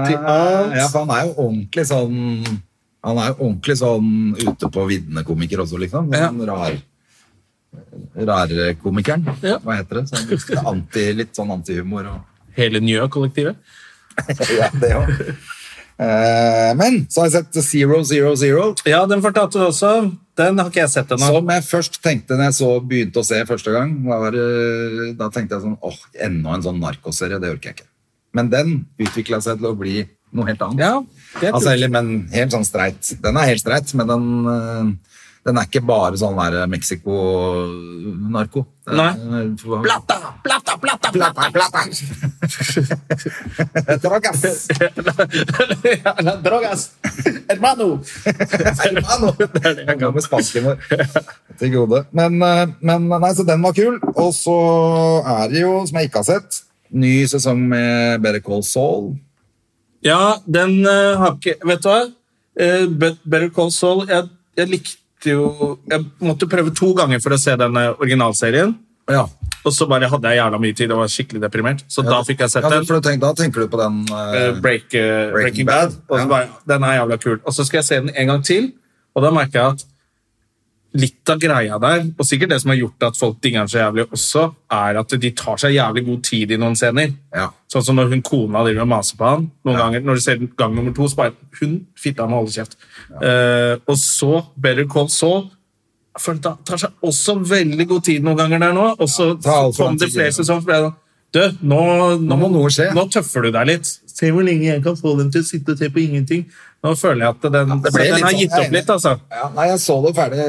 Speaker 1: Til alt.
Speaker 2: Ja, for han er jo ordentlig sånn Han er jo ordentlig sånn ute på viddene komiker også, liksom.
Speaker 1: Ja.
Speaker 2: Sånn rar rarkomikeren.
Speaker 1: Ja.
Speaker 2: Hva heter det? Sånn, anti, litt sånn antihumor og
Speaker 1: Hele Njø-kollektivet.
Speaker 2: ja, det også. Eh, men så har jeg sett Zero Zero Zero,
Speaker 1: Ja, den fortalte du også. Den har ikke jeg sett ennå.
Speaker 2: som jeg først tenkte når jeg så begynte å se første gang. Da, var, det- da tenkte jeg sånn åh, enda en sånn narkoserie. Det orker jeg ikke. Men den utvikla seg til å bli noe helt annet.
Speaker 1: Ja, det
Speaker 2: altså,
Speaker 1: tror jeg.
Speaker 2: eller, men helt sånn streit. Den er helt streit, men den, øh, den er ikke bare sånn der Mexico-narko. Den
Speaker 1: Nei.
Speaker 2: er- for- Plata, plata, plata, plata, plata. Drogas,
Speaker 1: Drogas! Hermano!
Speaker 2: hermano.
Speaker 1: Det er det jeg
Speaker 2: Noe
Speaker 1: kan.
Speaker 2: med spansken vår. Til gode. Men, øh, men nei, så den var kul. Og så er det jo, som jeg ikke har sett, ny sesong med Better Call Saul.
Speaker 1: Ja, den eh, har ikke Vet du hva? Eh, Be- Better Call Saul jeg, jeg likte jo Jeg måtte prøve to ganger for å se den eh, originalserien.
Speaker 2: Ja.
Speaker 1: Og så bare hadde jeg jævla mye tid og var skikkelig deprimert. Så da fikk jeg sett
Speaker 2: ja,
Speaker 1: den.
Speaker 2: for du tenk- Da tenker du på den
Speaker 1: eh,
Speaker 2: øh,
Speaker 1: Break, eh, Breaking
Speaker 2: Breaking
Speaker 1: Bad.
Speaker 2: Bad,
Speaker 1: Og så
Speaker 2: ja.
Speaker 1: bare, den er jævla kul. Og så skal jeg se den en gang til, og da merker jeg at litt av greia der, og sikkert det som har gjort at folk digger den så jævlig også, er at de tar seg jævlig god tid i noen scener.
Speaker 2: Ja.
Speaker 1: Sånn som når hun kona driver og maser på han. Noen ganger, når du ser den gang nummer to, så bare hun fitta må holde kjeft. Eh, og så Better Call Saul. Jeg føler det tar seg også veldig god tid noen ganger der nå. Og så
Speaker 2: ta alt for
Speaker 1: kom
Speaker 2: lang
Speaker 1: det
Speaker 2: tid,
Speaker 1: flere
Speaker 2: ja.
Speaker 1: sesonger. så ble jeg sånn, Du, nå, nå,
Speaker 2: må noe skje.
Speaker 1: Nå tøffer du deg litt. Se hvor lenge jeg kan få dem til å sitte og se på ingenting. Nå føler jeg at den,
Speaker 2: det ble litt
Speaker 1: den har
Speaker 2: sånn,
Speaker 1: gitt
Speaker 2: jeg er
Speaker 1: opp litt, altså.
Speaker 2: Ja, nei, jeg så det ferdig.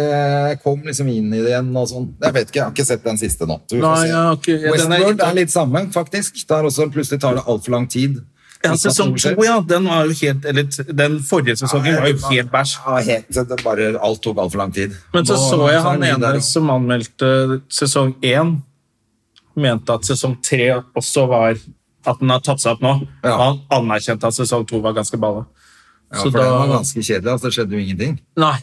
Speaker 2: Jeg kom liksom inn i det igjen og sånn. Jeg vet ikke, jeg har ikke sett den siste nå. Du får
Speaker 1: Nei,
Speaker 2: se.
Speaker 1: jeg har ikke- ja, den er-
Speaker 2: Westworld er litt samme, faktisk. Der også plutselig tar det altfor lang tid.
Speaker 1: Ja, sesong to, ja. Den, var jo helt, eller, den forrige sesongen var jo helt bæsj.
Speaker 2: Ja, helt, det bare, alt tok altfor lang tid.
Speaker 1: Men så
Speaker 2: Nå-
Speaker 1: så jeg
Speaker 2: er det
Speaker 1: han
Speaker 2: mye der
Speaker 1: ene
Speaker 2: også.
Speaker 1: som anmeldte sesong én, mente at sesong tre også var At den har tatt seg opp nå.
Speaker 2: Ja.
Speaker 1: Og han anerkjente at sesong to var ganske balla.
Speaker 2: Ja,
Speaker 1: så
Speaker 2: for
Speaker 1: da-
Speaker 2: det var ganske kjedelig. Altså, det skjedde jo ingenting.
Speaker 1: Nei.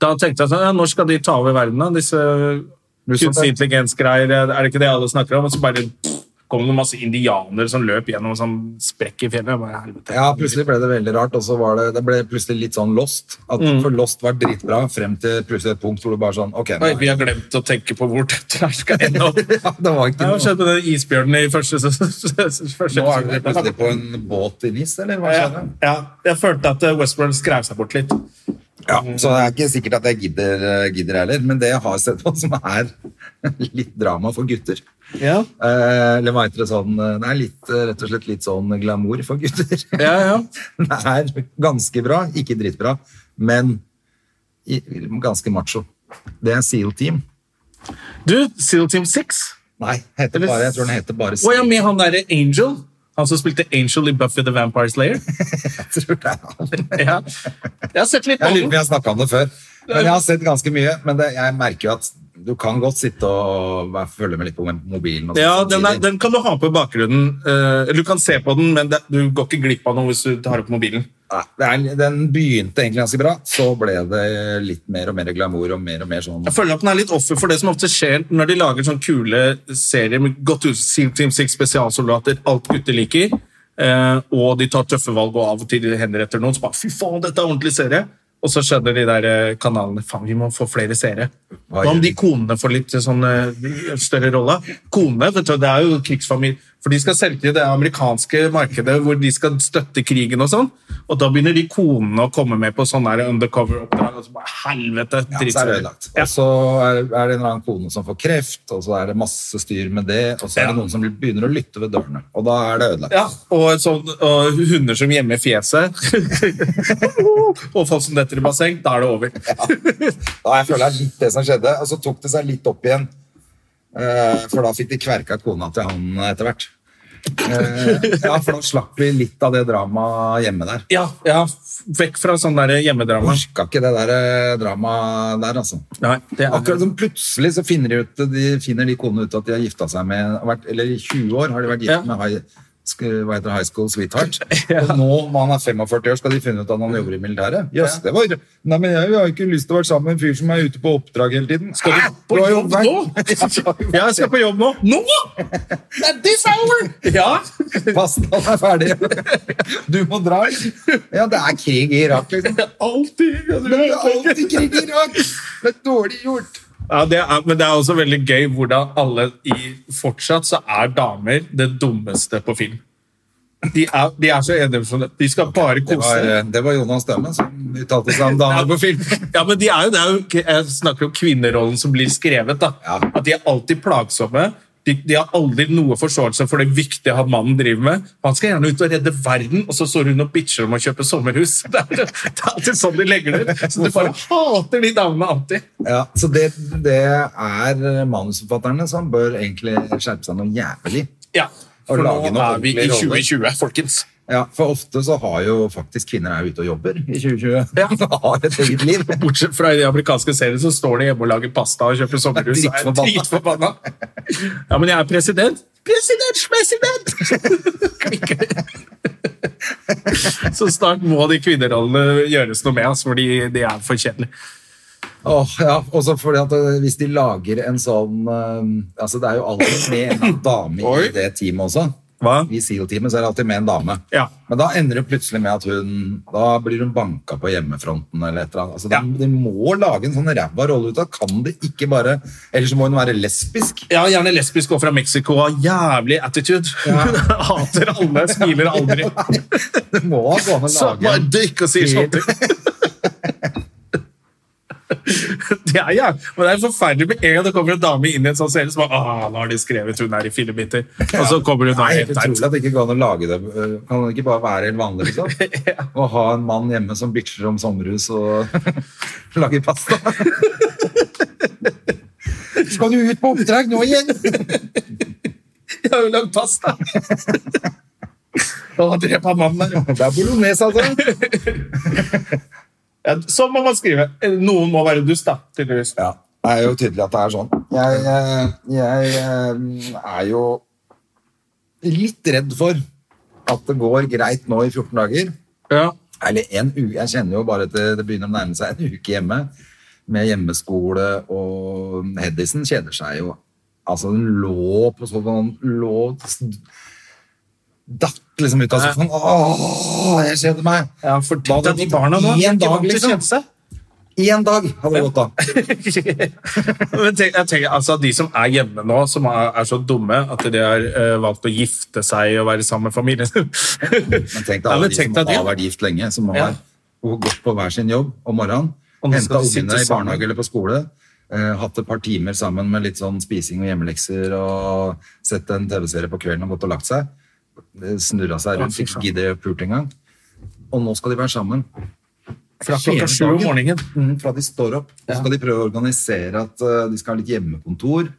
Speaker 1: Da tenkte jeg sånn ja, Når skal de ta over verden, da? Disse kunstig intelligens-greier. Er det ikke det alle snakker om? Og så bare pff, kom det masse indianere som løp gjennom en sånn sprekk i fjellet. Jeg Bare, helvete.
Speaker 2: Ja, plutselig ble det veldig rart, og så var det, det ble plutselig litt sånn lost. At,
Speaker 1: Mm.
Speaker 2: For lost var dritbra, frem til plutselig et punkt hvor du bare sånn, ok,
Speaker 1: Oi,
Speaker 2: nei.
Speaker 1: vi har glemt å tenke på hvor dette her skal ende opp.
Speaker 2: Ja, det var ikke
Speaker 1: Hva
Speaker 2: noe.
Speaker 1: skjedde med den isbjørnen i første sesong? første
Speaker 2: Nå er det
Speaker 1: sesong?
Speaker 2: plutselig på en båt i Nis, eller hva
Speaker 1: Ja,
Speaker 2: skjedde?
Speaker 1: ja, jeg følte at eh, Westworld skrev seg bort litt.
Speaker 2: Ja,
Speaker 1: Mm.
Speaker 2: så det er ikke sikkert at jeg gidder, gidder heller, men det jeg har sett på som er litt drama for gutter,
Speaker 1: Ja,
Speaker 2: eh, eller hva heter det sånn, eh, det er litt, eh, rett og slett litt sånn glamour for gutter.
Speaker 1: ja. ja.
Speaker 2: Det er ganske bra, ikke dritbra, men i- ganske macho. Det er SEAL Team.
Speaker 1: Du, Seal Team 6?
Speaker 2: Nei, heter
Speaker 1: Eller-
Speaker 2: bare, jeg tror den heter bare
Speaker 1: Å ja,
Speaker 2: SEAL.
Speaker 1: med han derre Angel? Han som spilte Angel i Buffy the Vampire Slayer?
Speaker 2: Jeg tror det er han.
Speaker 1: Ja. Jeg har sett litt
Speaker 2: Jeg
Speaker 1: på
Speaker 2: lurer på om
Speaker 1: den.
Speaker 2: jeg har snakket om det før. Men jeg har sett ganske mye. Men det, jeg merker jo at du kan godt sitte og være- følge med litt på mobilen. Og sånt
Speaker 1: Ja, den, er,
Speaker 2: samtidig.
Speaker 1: den kan du ha på i bakgrunnen. eh, Eller du kan se på den, men det, du går ikke glipp av noe hvis du tar opp mobilen.
Speaker 2: Nei, det er, den begynte egentlig ganske bra. Så ble det litt mer og mer glamour og mer og mer sånn
Speaker 1: Jeg føler at den er litt offer for det som ofte skjer når de lager sånne kule serier med godt ut, Seal Team 6 spesialsoldater, alt gutter liker, eh, og de tar tøffe valg og av og til henretter noen, så bare fy faen, dette er ordentlig serie. Og så skjønner de der eh, kanalene faen, vi må få flere seere.
Speaker 2: Hva
Speaker 1: Hva om
Speaker 2: gjør
Speaker 1: de
Speaker 2: vi?
Speaker 1: eh, konene får litt sånn eh, større rolle? Konene, vet du, det er jo krigsfamilie. For de skal selge til det amerikanske markedet hvor de skal støtte krigen og sånn. Og da begynner de konene å komme med på sånne her undercover-oppdrag. Og så bare helvete!
Speaker 2: Ja, så er det ødelagt.
Speaker 1: Ja.
Speaker 2: Og så er, er det en eller annen kone som får kreft, og så er det masse styr med det, og så er
Speaker 1: Ja.
Speaker 2: det noen som begynner å lytte ved dørene, og da er det ødelagt.
Speaker 1: Ja, og, en sånn, og hunder som gjemmer fjeset. og folk som detter i basseng. Da er det over.
Speaker 2: Da jeg føler det er litt det som skjedde, og så tok det seg litt opp igjen, eh, for da fikk de kverka kona til han etter hvert. Eh, ja, for da slapp vi litt av det dramaet hjemme der.
Speaker 1: Ja, ja vekk fra sånn der hjemmedrama.
Speaker 2: Orka ikke det der eh, dramaet der, altså.
Speaker 1: Nei, det er
Speaker 2: Akkurat som plutselig så finner de ut de finner de konene ut at de har gifta seg med har vært, Eller i 20 år har de vært gift
Speaker 1: Ja.
Speaker 2: med high, sk- hva heter det, high school sweetheart. Og nå, når han er 45 år, skal de finne ut at han jobber i militæret. Jøss, det var Nei, men jeg har jo ikke lyst til å være sammen med en fyr som er ute på oppdrag hele tiden.
Speaker 1: Skal du
Speaker 2: Hæ?
Speaker 1: Ah, på
Speaker 2: har jo
Speaker 1: jobb
Speaker 2: vært-
Speaker 1: nå? Ja, jeg skal på jobb nå. Nå?! At this hour! Ja.
Speaker 2: Pascal er ferdig. Du må dra. Ja, det er krig i Irak, liksom.
Speaker 1: Alltid.
Speaker 2: Det er alltid krig i Irak! Det er dårlig gjort.
Speaker 1: Ja, det er, men det er også veldig gøy hvordan alle i Fortsatt så er damer det dummeste på film. De er, de er så endimensionelle. De skal bare
Speaker 2: Det
Speaker 1: kose
Speaker 2: var, eh,
Speaker 1: seg.
Speaker 2: det var Jonas Dømmen som uttalte seg om damer på film.
Speaker 1: Ja, men de er jo, det er jo, jeg snakker om kvinnerollen som blir skrevet. da.
Speaker 2: Ja.
Speaker 1: At de er alltid plagsomme. De, de har aldri noe forståelse for det viktige han mannen driver med. Han skal gjerne ut og redde verden, og så står hun og bitcher om å kjøpe sommerhus. Det er, det er alltid sånn de legger det ut. Så du bare hater de damene alltid.
Speaker 2: Ja, så det, det er manusforfatterne som bør egentlig skjerpe seg noe jævlig.
Speaker 1: Ja,
Speaker 2: Og
Speaker 1: for nå
Speaker 2: lage noe
Speaker 1: er vi i
Speaker 2: ordentlig rolle.
Speaker 1: 2020, folkens.
Speaker 2: Ja, For ofte så har jo faktisk kvinner er ute og jobber i 2020. De har et eget liv.
Speaker 1: Bortsett fra i de amerikanske seriene, så står de hjemme og lager pasta og kjøper sommerhus. og er
Speaker 2: Dritforbanna.
Speaker 1: dritforbanna. Ja, men jeg er president. President, president! Klikker. Så snart må de kvinnerollene gjøres noe med, altså, for de, de er for kjedelige.
Speaker 2: Åh, ja, også fordi at øh, Hvis de lager en sånn øh, altså Det er jo alltid med en eller annen dame
Speaker 1: Oi.
Speaker 2: i det teamet også.
Speaker 1: Hva?
Speaker 2: I SEAL-teamet så er det alltid med en dame.
Speaker 1: Ja.
Speaker 2: Men da ender det plutselig med at hun Da blir hun banka på hjemmefronten eller et eller annet. Altså,
Speaker 1: Ja.
Speaker 2: de, de må lage en sånn ræva rolle ut av Kan de ikke bare Ellers så må hun være lesbisk.
Speaker 1: Ja, gjerne lesbisk og fra Mexico. og Jævlig attitude. Hater alle, smiler aldri.
Speaker 2: Det må gå an å
Speaker 1: Så
Speaker 2: lage
Speaker 1: bare dykk og sier sånne ting. Det er, ja. Men det er forferdelig med en gang det kommer en dame inn i en sånn serie som bare, ah, nå har de skrevet hun er i fillebiter. Og så kommer hun da
Speaker 2: Nei,
Speaker 1: helt
Speaker 2: helt utrolig at det ikke går an å lage det. Eh, Kan det ikke bare være helt vanlig? liksom? Å ha en mann hjemme som bitcher om sommerhus og lager pasta. Skal du ut på oppdrag nå igjen?
Speaker 1: Jeg har jo lagd pasta! Å, drep han mannen der.
Speaker 2: Det er bolognese, altså.
Speaker 1: Ja, sånn må man skrive. Noen må være dust, da. tydeligvis.
Speaker 2: Ja, det er jo tydelig at det er sånn. Jeg, eh, jeg eh, er jo litt redd for at det går greit nå i 14 dager.
Speaker 1: Ja.
Speaker 2: Eller en uke, jeg kjenner jo bare at det, det begynner å nærme seg en uke hjemme, med hjemmeskole, og Hedison kjeder seg jo. Altså, hun lå på sofaen, lå datt liksom ut av sofaen. Åh, jeg kjeder meg!
Speaker 1: ja for
Speaker 2: Da hadde
Speaker 1: de
Speaker 2: det
Speaker 1: barna nå.
Speaker 2: gått en
Speaker 1: de
Speaker 2: dag,
Speaker 1: vant til
Speaker 2: liksom.
Speaker 1: kjensel.
Speaker 2: Én dag hadde det gått da.
Speaker 1: Men tenk, jeg tenker, altså De som er hjemme nå, som er, er så dumme at de har eh, valgt å gifte seg og være sammen med familien
Speaker 2: Men tenk deg
Speaker 1: Ja,
Speaker 2: alle
Speaker 1: men
Speaker 2: de som
Speaker 1: tenk deg det.
Speaker 2: har vært gift lenge, som har
Speaker 1: Ja.
Speaker 2: gått på hver sin jobb om morgenen,
Speaker 1: Og nå skal
Speaker 2: henta
Speaker 1: de sitte
Speaker 2: ungene i
Speaker 1: sammen.
Speaker 2: barnehage eller på skole, eh, hatt et par timer sammen med litt sånn spising og hjemmelekser, og sett en TV-serie på kvelden og gått og lagt seg. Eh, Snurra seg rundt,
Speaker 1: fy
Speaker 2: ikke
Speaker 1: faen.
Speaker 2: giddet å gjøre pult engang. Og nå skal de være sammen.
Speaker 1: fra klokka
Speaker 2: Hele
Speaker 1: sju om
Speaker 2: dagen.
Speaker 1: morgenen.
Speaker 2: Mm, fra de står opp. Så
Speaker 1: Mhm. Ja.
Speaker 2: skal de prøve å organisere at eh, de skal ha litt hjemmekontor.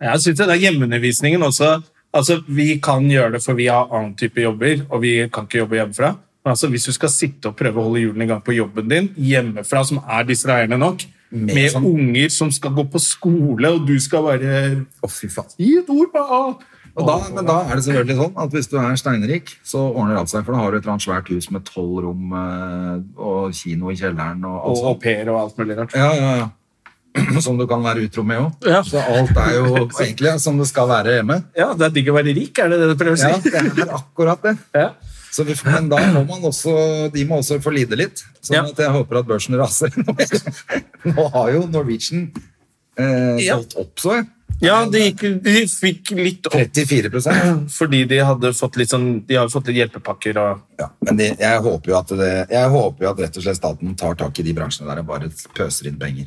Speaker 1: Jeg synes det er hjemmeundervisningen også. Altså, Vi kan gjøre det, for vi har annen type jobber, og vi kan ikke jobbe hjemmefra. Men altså, hvis du skal sitte og prøve å holde hjulene i gang på jobben din hjemmefra, som er distraherende nok, med,
Speaker 2: sånn-
Speaker 1: unger som skal gå på skole, og du skal bare
Speaker 2: Å, fy faen.
Speaker 1: Gi et ord på A!
Speaker 2: Og da, men da er det selvfølgelig sånn at hvis du er steinrik, så ordner alt seg. For da har du et eller annet svært hus med tolv rom eh, og kino i kjelleren og
Speaker 1: Og
Speaker 2: alt sånn.
Speaker 1: au
Speaker 2: sånt.
Speaker 1: pair og alt mulig rart.
Speaker 2: Ja, ja, ja. Som du kan være utro med òg.
Speaker 1: Ja.
Speaker 2: Så alt er jo egentlig som det skal være hjemme.
Speaker 1: Ja, det er digg å være rik, er det det du prøver å
Speaker 2: Ja,
Speaker 1: si?
Speaker 2: det er akkurat det.
Speaker 1: Ja.
Speaker 2: Så vi, får- men da må man også, de må også få lide litt. Sånn
Speaker 1: Ja.
Speaker 2: at jeg håper at børsen raser. Nå har jo Norwegian eh,
Speaker 1: Ja.
Speaker 2: solgt opp så, jeg.
Speaker 1: Ja, de, gikk, de fikk litt opp
Speaker 2: 34 prosent.
Speaker 1: fordi de hadde fått litt sånn De har jo fått litt hjelpepakker og
Speaker 2: Ja, men de, jeg, håper jo at det, jeg håper jo at rett og slett staten tar tak i de bransjene der og bare pøser inn penger.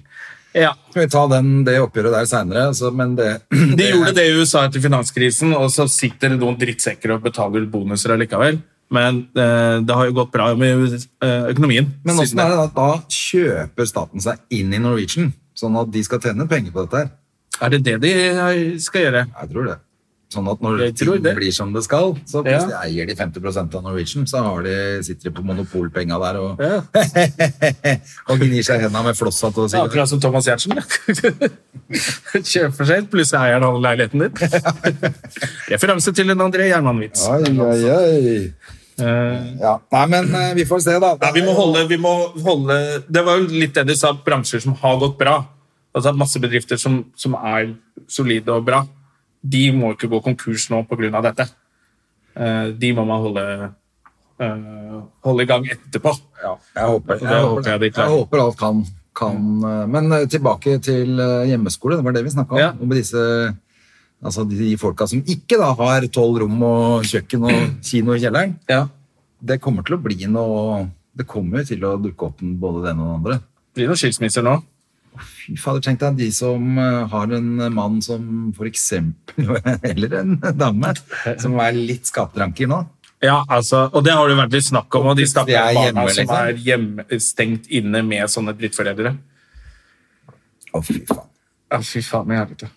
Speaker 1: Ja.
Speaker 2: Skal vi ta den, det oppgjøret der seinere, men det,
Speaker 1: De gjorde det i USA etter finanskrisen, og så sitter det noen drittsekker og betaler bonuser allikevel. Men eh, det har jo gått bra med eh, økonomien.
Speaker 2: Men
Speaker 1: siden
Speaker 2: åssen er det at da kjøper staten seg inn i Norwegian, sånn at de skal tjene penger på dette her?
Speaker 1: Er det det de eh, skal gjøre?
Speaker 2: Jeg tror det. Sånn at når
Speaker 1: Jeg tror
Speaker 2: ting
Speaker 1: det.
Speaker 2: blir som det skal, så
Speaker 1: Ja.
Speaker 2: plutselig eier de 50 av Norwegian, så har de, sitter de på monopolpenga der og,
Speaker 1: Ja.
Speaker 2: og gnir seg i henda med flosshatt og
Speaker 1: Det er
Speaker 2: sikkert.
Speaker 1: Akkurat som Thomas Giertsen. Kjøper seg inn, plutselig eier han all leiligheten din. Referanse til en André Gjerman-vits.
Speaker 2: Oi, oi, oi.
Speaker 1: Eh,
Speaker 2: Ja. Nei, men eh, vi får se, da.
Speaker 1: ja, vi, må holde, vi må holde Det var jo litt det de sa, bransjer som har gått bra. Altså Masse bedrifter som, som er solide og bra. De må ikke gå konkurs nå pga. dette. Eh, De må man holde, eh, holde i gang etterpå.
Speaker 2: Ja, jeg håper,
Speaker 1: Det
Speaker 2: jeg
Speaker 1: håper jeg
Speaker 2: håper,
Speaker 1: de
Speaker 2: jeg
Speaker 1: klarer.
Speaker 2: håper alt kan, kan eh, Men eh, tilbake til eh, hjemmeskole, det var det vi snakka om.
Speaker 1: Ja.
Speaker 2: Om disse Altså de folka som ikke da har tolv rom og kjøkken og kino i kjelleren.
Speaker 1: Ja.
Speaker 2: Det kommer til å bli noe Det kommer jo til å dukke opp en- både den og den andre.
Speaker 1: Det blir noen skilsmisser nå.
Speaker 2: Fy fader, tenk deg de som eh, har en mann som for eksempel Eller en dame som er litt skapdranker nå.
Speaker 1: Ja, altså, og det har det jo vært litt snakk om. Og
Speaker 2: De
Speaker 1: de
Speaker 2: er
Speaker 1: stakkars barna
Speaker 2: hjemme,
Speaker 1: som
Speaker 2: liksom.
Speaker 1: er hjemme, stengt inne med sånne drittforeldre.
Speaker 2: Å, fy faen.
Speaker 1: Ja, fy faen i helvete.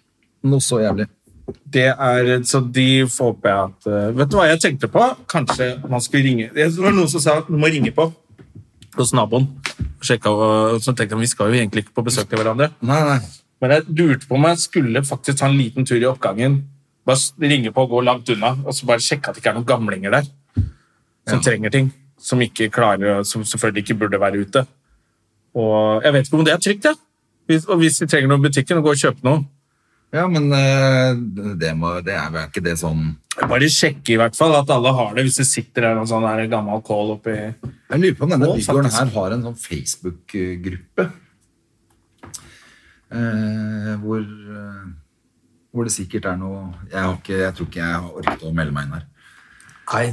Speaker 2: Noe så jævlig.
Speaker 1: Det er, så de håper jeg at eh, Vet du hva jeg tenkte på? Kanskje man skulle ringe Det var noen som sa at du må ringe på hos naboen. Sjekka, og så tenkte jeg vi skal jo egentlig ikke på besøk til hverandre.
Speaker 2: Nei, nei.
Speaker 1: Men jeg lurte på om jeg skulle faktisk ta en liten tur i oppgangen. Bare s- ringe på og gå langt unna, og så bare sjekke at det ikke er noen gamlinger der som trenger ting. Som ikke klarer, som selvfølgelig ikke burde være ute. Og jeg vet ikke om det er trygt, jeg. Hvis, og hvis de trenger noe i butikken, gå og kjøpe noe.
Speaker 2: Ja, men eh, det, må, det er vel ikke det sånn
Speaker 1: Bare sjekke i hvert fall at alle har det, hvis det sitter der en sånn her gammel kål oppi
Speaker 2: Jeg lurer på om denne
Speaker 1: Å,
Speaker 2: bygården
Speaker 1: faktisk.
Speaker 2: her har en sånn Facebook-gruppe. Eh, hvor, eh, hvor det sikkert er noe jeg, har ikke, jeg tror ikke jeg har orket å melde meg inn her.
Speaker 1: Nei,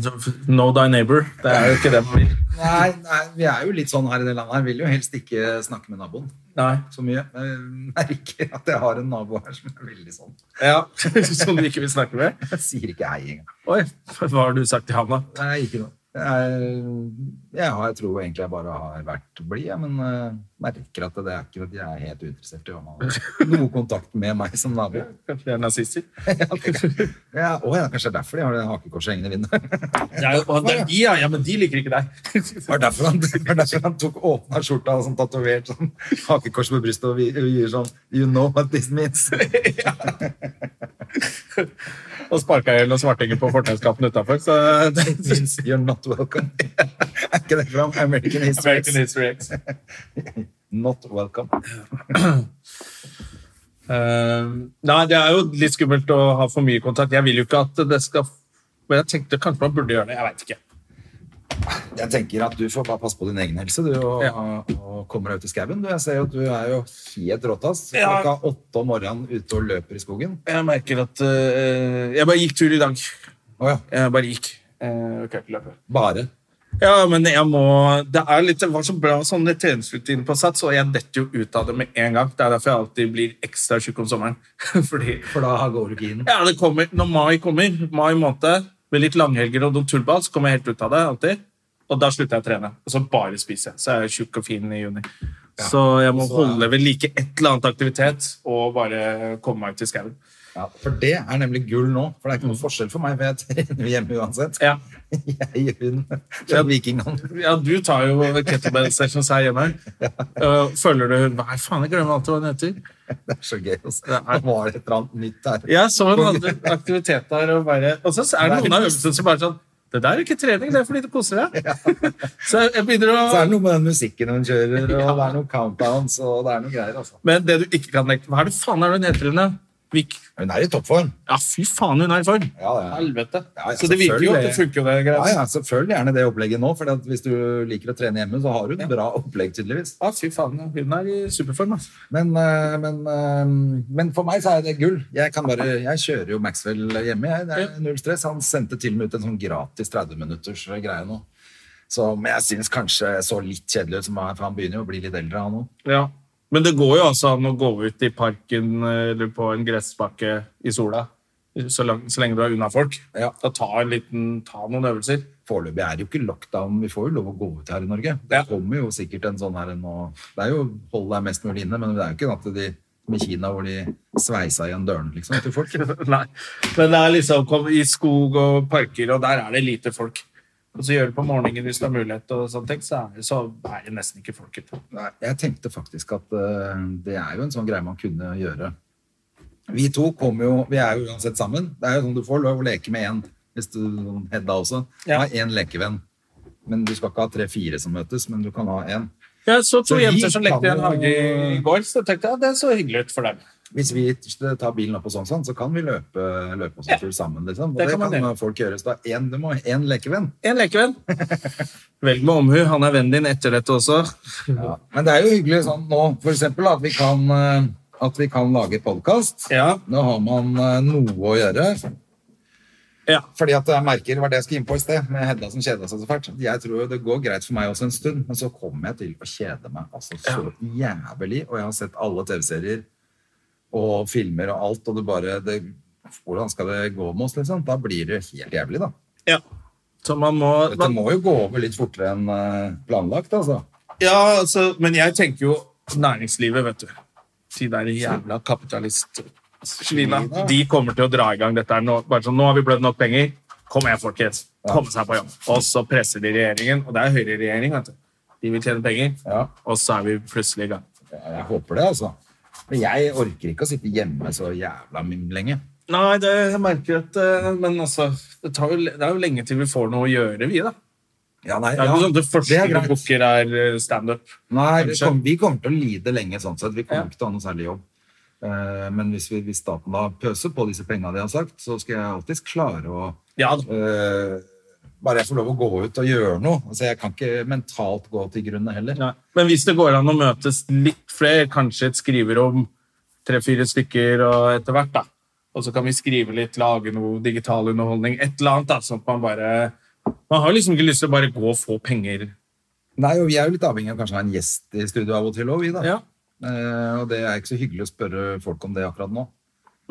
Speaker 1: Know thy neighbor. Det er jo ikke det man vil.
Speaker 2: Nei, nei, vi er jo litt sånn her i det landet her. Vil jo helst ikke snakke med naboen
Speaker 1: Nei.
Speaker 2: så mye. Men Jeg merker at jeg har en nabo her som er veldig sånn.
Speaker 1: Ja. Som du ikke vil snakke med?
Speaker 2: Jeg sier ikke hei engang.
Speaker 1: Oi, hva har du sagt til han, da?
Speaker 2: Nei, ikke noe. Jeg, jeg, har, jeg tror egentlig jeg bare har vært blid, jeg, men eh, merker at det er ikke at jeg er helt uinteressert i om han har noe kontakt med meg som nabo.
Speaker 1: Kanskje de er nazister?
Speaker 2: Ja, å, ja, kanskje det er derfor de har det hakekorset hengende i vinduet.
Speaker 1: Det er, jo- og det er de, ja. ja, men de liker ikke deg.
Speaker 2: Det var derfor han, det var derfor han tok åpna skjorta og sånn tatovert sånn hakekors på brystet og vi- og gjør sånn You know what this means.
Speaker 1: Og sparka i hjel noen svartinger på fortauskatten utafor. Så
Speaker 2: It means you're not welcome. Er ikke det fra American History?
Speaker 1: American History X.
Speaker 2: Not welcome.
Speaker 1: Eh, nei, det er jo litt skummelt å ha for mye kontakt. Jeg vil jo ikke at det skal Men jeg tenkte kanskje man burde gjøre det. Jeg veit ikke.
Speaker 2: Jeg tenker at du får bare passe på din egen helse, du, og, og kommer deg ut i skauen. Du, Jeg ser jo at du er jo helt råtass.
Speaker 1: Ja.
Speaker 2: Klokka åtte om morgenen ute og løper i skogen.
Speaker 1: Jeg merker at eh, Jeg bare gikk tur i dag.
Speaker 2: Å ja,
Speaker 1: Jeg bare gikk. Eh, ok, ikke løpe.
Speaker 2: bare.
Speaker 1: Ja, men jeg må Det, er litt, det var så bra sånn treningsrutine på sats, og jeg detter jo ut av det med en gang. Det er derfor jeg alltid blir ekstra tjukk om sommeren. Fordi
Speaker 2: For da går du ikke inn.
Speaker 1: ja, det kommer, Når mai kommer, mai måned, med litt langhelger og noen tullball, så kommer jeg helt ut av det alltid. Og da slutter jeg å trene. Og så bare spiser jeg. Så er jeg tjukk og fin i juni. Så jeg må
Speaker 2: så er-
Speaker 1: holde ved like et eller annet aktivitet og bare komme meg ut i skauen.
Speaker 2: Ja, for det er nemlig gull nå. For det er ikke noe forskjell for meg, for jeg trener jo hjemme uansett.
Speaker 1: Mm. Ja.
Speaker 2: Jeg gjør hun. Det er vikingene.
Speaker 1: Ja, du tar jo kettlebell sessions her hjemme. Øh, Følger du hun Nei, faen, jeg glemmer alltid hva hun heter.
Speaker 2: Det er så gøy. Altså.
Speaker 1: Det er-
Speaker 2: Det var et eller annet nytt der.
Speaker 1: Jeg så hun hadde aktivitet der, og bare Og så er det noen av øvelsene som bare sånn Det der er ikke trening, det er fordi du koser deg. Så jeg begynner
Speaker 2: Så er
Speaker 1: å
Speaker 2: det noe med den musikken hun kjører, og det er noen countdowns, og det er noe greier, altså.
Speaker 1: Men det du ikke kan nekte Hva er det faen er det hun heter, Rune? Vik.
Speaker 2: Hun er i toppform.
Speaker 1: Ja, fy faen, hun er i form!
Speaker 2: Ja, ja.
Speaker 1: Helvete.
Speaker 2: Ja, ja,
Speaker 1: så det virker jo at det funker, jo, det
Speaker 2: Ja,
Speaker 1: greia.
Speaker 2: ja, selvfølgelig gjerne det opplegget nå, for at hvis du liker å trene hjemme, så har du et bra opplegg, tydeligvis.
Speaker 1: Ja, fy faen, hun er i superform, altså.
Speaker 2: Men, eh, men, eh, men for meg så er det gull. Jeg, kan bare, jeg kjører jo Maxwell hjemme. Jeg, det er null stress. Han sendte til og med ut en sånn gratis 30-minutters greie nå. Som jeg syns kanskje så litt kjedelig ut, som han- for han begynner jo å bli litt eldre, han òg.
Speaker 1: Ja. Men det går jo altså an å gå ut i parken eh, eller på en gressbakke i sola, så, lang, så lenge du er unna folk.
Speaker 2: Ja.
Speaker 1: Da ta, en liten, ta noen øvelser.
Speaker 2: Foreløpig er det jo ikke lockdown. Vi får jo lov å gå ut her i Norge. Det
Speaker 1: Ja.
Speaker 2: kommer jo sikkert en sånn her nå. Det er jo hold deg mest mulig inne, men det er jo ikke at de som i Kina hvor de sveisa igjen dørene liksom, til folk.
Speaker 1: Nei. Men det er liksom kom i skog og parker, og der er det lite folk. Og så gjør det på morgenen hvis du har mulighet, og sånne ting, så er det, så er det nesten ikke folk ute.
Speaker 2: Nei, Jeg tenkte faktisk at eh, det er jo en sånn greie man kunne gjøre. Vi to kommer jo Vi er jo uansett sammen. Det er jo sånn du får lov å leke med én, hvis du sånn Hedda også.
Speaker 1: Ja.
Speaker 2: Ha én lekevenn. Men du skal ikke ha tre-fire som møtes, men du kan ha én.
Speaker 1: Jeg så to
Speaker 2: Så vi
Speaker 1: jenter som lekte i en
Speaker 2: kan
Speaker 1: hage
Speaker 2: jo-
Speaker 1: i går, så tenkte jeg at det så hyggelig ut for dem.
Speaker 2: Hvis vi tar bilen opp og sånn, sånn så kan vi løpe, løpe oss en tur sammen. Liksom. Og
Speaker 1: Det
Speaker 2: det,
Speaker 1: kan man
Speaker 2: kan,
Speaker 1: gjøre.
Speaker 2: folk gjøre. Så da en, du må ha én lekevenn.
Speaker 1: En lekevenn. Velg med omhu. Han er vennen din etter dette også. Mhm.
Speaker 2: Men det er jo hyggelig sånn nå, for eksempel, at vi kan, eh, at vi kan lage podkast.
Speaker 1: Ja.
Speaker 2: Nå har man eh, noe å gjøre.
Speaker 1: Ja.
Speaker 2: Fordi at jeg merker, det var det jeg skulle inn på i sted, med Hedda som kjeda seg så fælt. Jeg tror jo det går greit for meg også en stund, men så kommer jeg til å kjede meg altså så jævlig. Og jeg har sett alle TV-serier og filmer og alt, og det bare det, Hvordan skal det gå med oss, liksom? Da blir det helt jævlig, da.
Speaker 1: ja. Så man må,
Speaker 2: Dette
Speaker 1: man,
Speaker 2: må jo gå over litt fortere enn eh, planlagt, altså.
Speaker 1: Ja, altså, men jeg tenker jo næringslivet, vet du. De der jævla kapitalistsvina. De kommer til å dra i gang dette her nå. Bare sånn, nå har vi blødd nok penger. Kom igjen, folkens. Komme seg på jobb. Og så presser de regjeringen, og det er høyreregjering, vet du. De vil tjene penger,
Speaker 2: Ja.
Speaker 1: og så er vi plutselig i gang.
Speaker 2: Ja, Jeg håper det, altså. Men jeg orker ikke å sitte hjemme så jævla mye lenge.
Speaker 1: Nei, det jeg merker jeg at eh, Men altså, det, tar jo, le- det er jo lenge til vi får noe å gjøre, vi, da.
Speaker 2: Ja, nei,
Speaker 1: Det er
Speaker 2: ja,
Speaker 1: ikke sånn at det
Speaker 2: det
Speaker 1: første
Speaker 2: er
Speaker 1: du
Speaker 2: greit.
Speaker 1: booker, er eh, standup.
Speaker 2: Nei, vi
Speaker 1: Kanskje.
Speaker 2: kommer, vi kommer til å lide lenge sånn sett. Vi kommer
Speaker 1: Ja.
Speaker 2: ikke til å ha noe særlig jobb. Eh, Men hvis, vi, hvis staten da pøser på disse pengene de har sagt, så skal jeg alltid klare å
Speaker 1: Ja, da.
Speaker 2: eh, Bare jeg får lov å gå ut og gjøre noe. Altså, jeg kan ikke mentalt gå til grunne heller.
Speaker 1: Nei. Men hvis det går an å møtes litt flere, kanskje et skriverom, tre-fire stykker og etter hvert, da. Og så kan vi skrive litt, lage noe digital underholdning, et eller annet. da, sånn at Man bare... Man har liksom ikke lyst til å bare gå og få penger.
Speaker 2: Nei, og Vi er jo litt avhengig av kanskje å ha en gjest i studio av og til òg, vi. da.
Speaker 1: Ja.
Speaker 2: Eh, og det er ikke så hyggelig å spørre folk om det akkurat nå.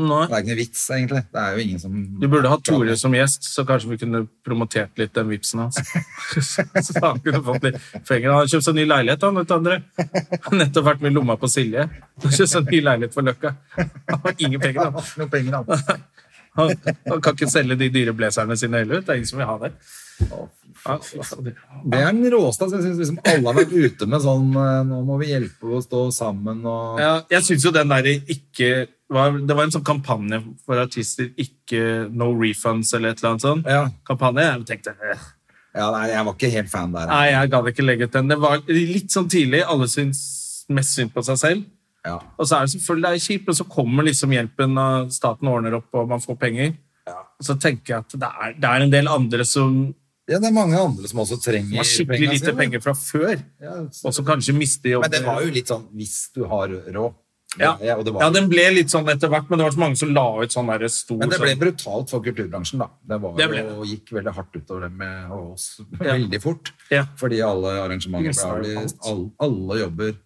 Speaker 1: Nei.
Speaker 2: Det er ikke noe vits, egentlig. Det er jo ingen som
Speaker 1: Du burde hatt Tore som gjest, så kanskje vi kunne promotert litt den vipsen hans. så han kunne fått litt penger. Han har kjøpt seg ny leilighet, han, vet du, André. Han har Nettopp vært med i lomma på Silje. Han har kjøpt seg ny leilighet på Løkka. Han har ingen penger, han.
Speaker 2: Noen penger, da.
Speaker 1: Han, han kan ikke selge de dyre blazerne sine heller. Det er ingen som vil ha det. Ja, fy faen.
Speaker 2: Det er den råeste. altså, Jeg synes liksom alle har vært ute med sånn eh, Nå må vi hjelpe og stå sammen og
Speaker 1: Ja, jeg syns jo den derre ikke var, Det var en sånn kampanje for artister. Ikke No refunds eller et eller annet sånt.
Speaker 2: Ja.
Speaker 1: Kampanje. Jeg tenkte eh,
Speaker 2: Ja, nei, jeg var ikke helt fan der.
Speaker 1: Nei, jeg gadd ikke legge ut den. Det var litt sånn tidlig. Alle syns mest synd på seg selv.
Speaker 2: Ja.
Speaker 1: Og så er det selvfølgelig det er kjipt, men så kommer liksom hjelpen, og staten ordner opp, og man får penger. Og så tenker jeg at det er, det er en del andre som
Speaker 2: ja, det er mange andre som også trenger
Speaker 1: har skikkelig
Speaker 2: pengene
Speaker 1: lite
Speaker 2: sine.
Speaker 1: penger fra før,
Speaker 2: Ja,
Speaker 1: og som kanskje mister jobben.
Speaker 2: men det var jo litt sånn hvis du har råd.
Speaker 1: Ja.
Speaker 2: Ja, og det var,
Speaker 1: ja, den ble litt sånn etter hvert, men det var så mange som la ut sånn der stor
Speaker 2: men det ble
Speaker 1: sånn-
Speaker 2: brutalt for kulturbransjen, da. Det, var
Speaker 1: Det ble
Speaker 2: jo, gikk veldig hardt utover dem med- og oss veldig fort.
Speaker 1: Ja.
Speaker 2: Fordi alle arrangementer ble
Speaker 1: Nesten
Speaker 2: avlyst.
Speaker 1: alt.
Speaker 2: Alle, alle jobber.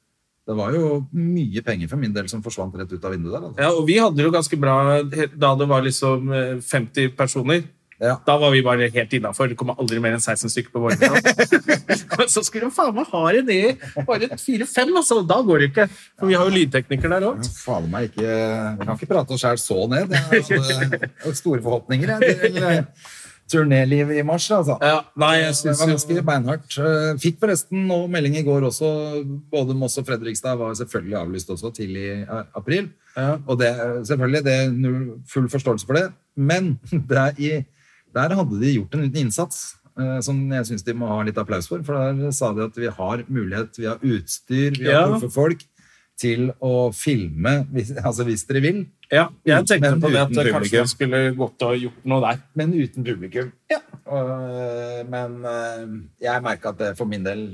Speaker 2: Det var jo mye penger for min del som forsvant rett ut av vinduet der. Altså.
Speaker 1: Ja, og vi hadde det jo ganske bra he- da det var liksom eh, 50 personer.
Speaker 2: Ja.
Speaker 1: Da var vi bare helt innafor. Det kommer aldri mer enn 16 stykker på våre Men så skulle de faen meg ha det ned i bare 4-5, altså. Da går det ikke. For vi har jo lydtekniker der òg.
Speaker 2: Fader meg ikke Vi kan ikke prate oss sjæl så ned. Jeg hadde jeg hadde store forhåpninger jeg, til eh, turnélivet i mars. Altså.
Speaker 1: Ja, nei, jeg
Speaker 2: Det
Speaker 1: synes
Speaker 2: var
Speaker 1: jo
Speaker 2: ganske beinhardt. Eh, Fikk forresten nå melding i går også. Både Moss og Fredrikstad var selvfølgelig avlyst også tidlig i eh, april.
Speaker 1: Ja.
Speaker 2: Og det, selvfølgelig, det er null- full forståelse for det. Men det er i, der hadde de gjort en liten innsats eh, som jeg syns de må ha litt applaus for. For der sa de at vi har mulighet, vi har utstyr, vi har
Speaker 1: Ja.
Speaker 2: proffe folk til å filme hvis, altså hvis dere vil,
Speaker 1: Ja, jeg tenkte
Speaker 2: Men
Speaker 1: på det at
Speaker 2: uten
Speaker 1: kanskje
Speaker 2: publikum.
Speaker 1: jeg skulle gått og gjort noe der.
Speaker 2: men uten publikum. Og, men eh, jeg merka at det for min del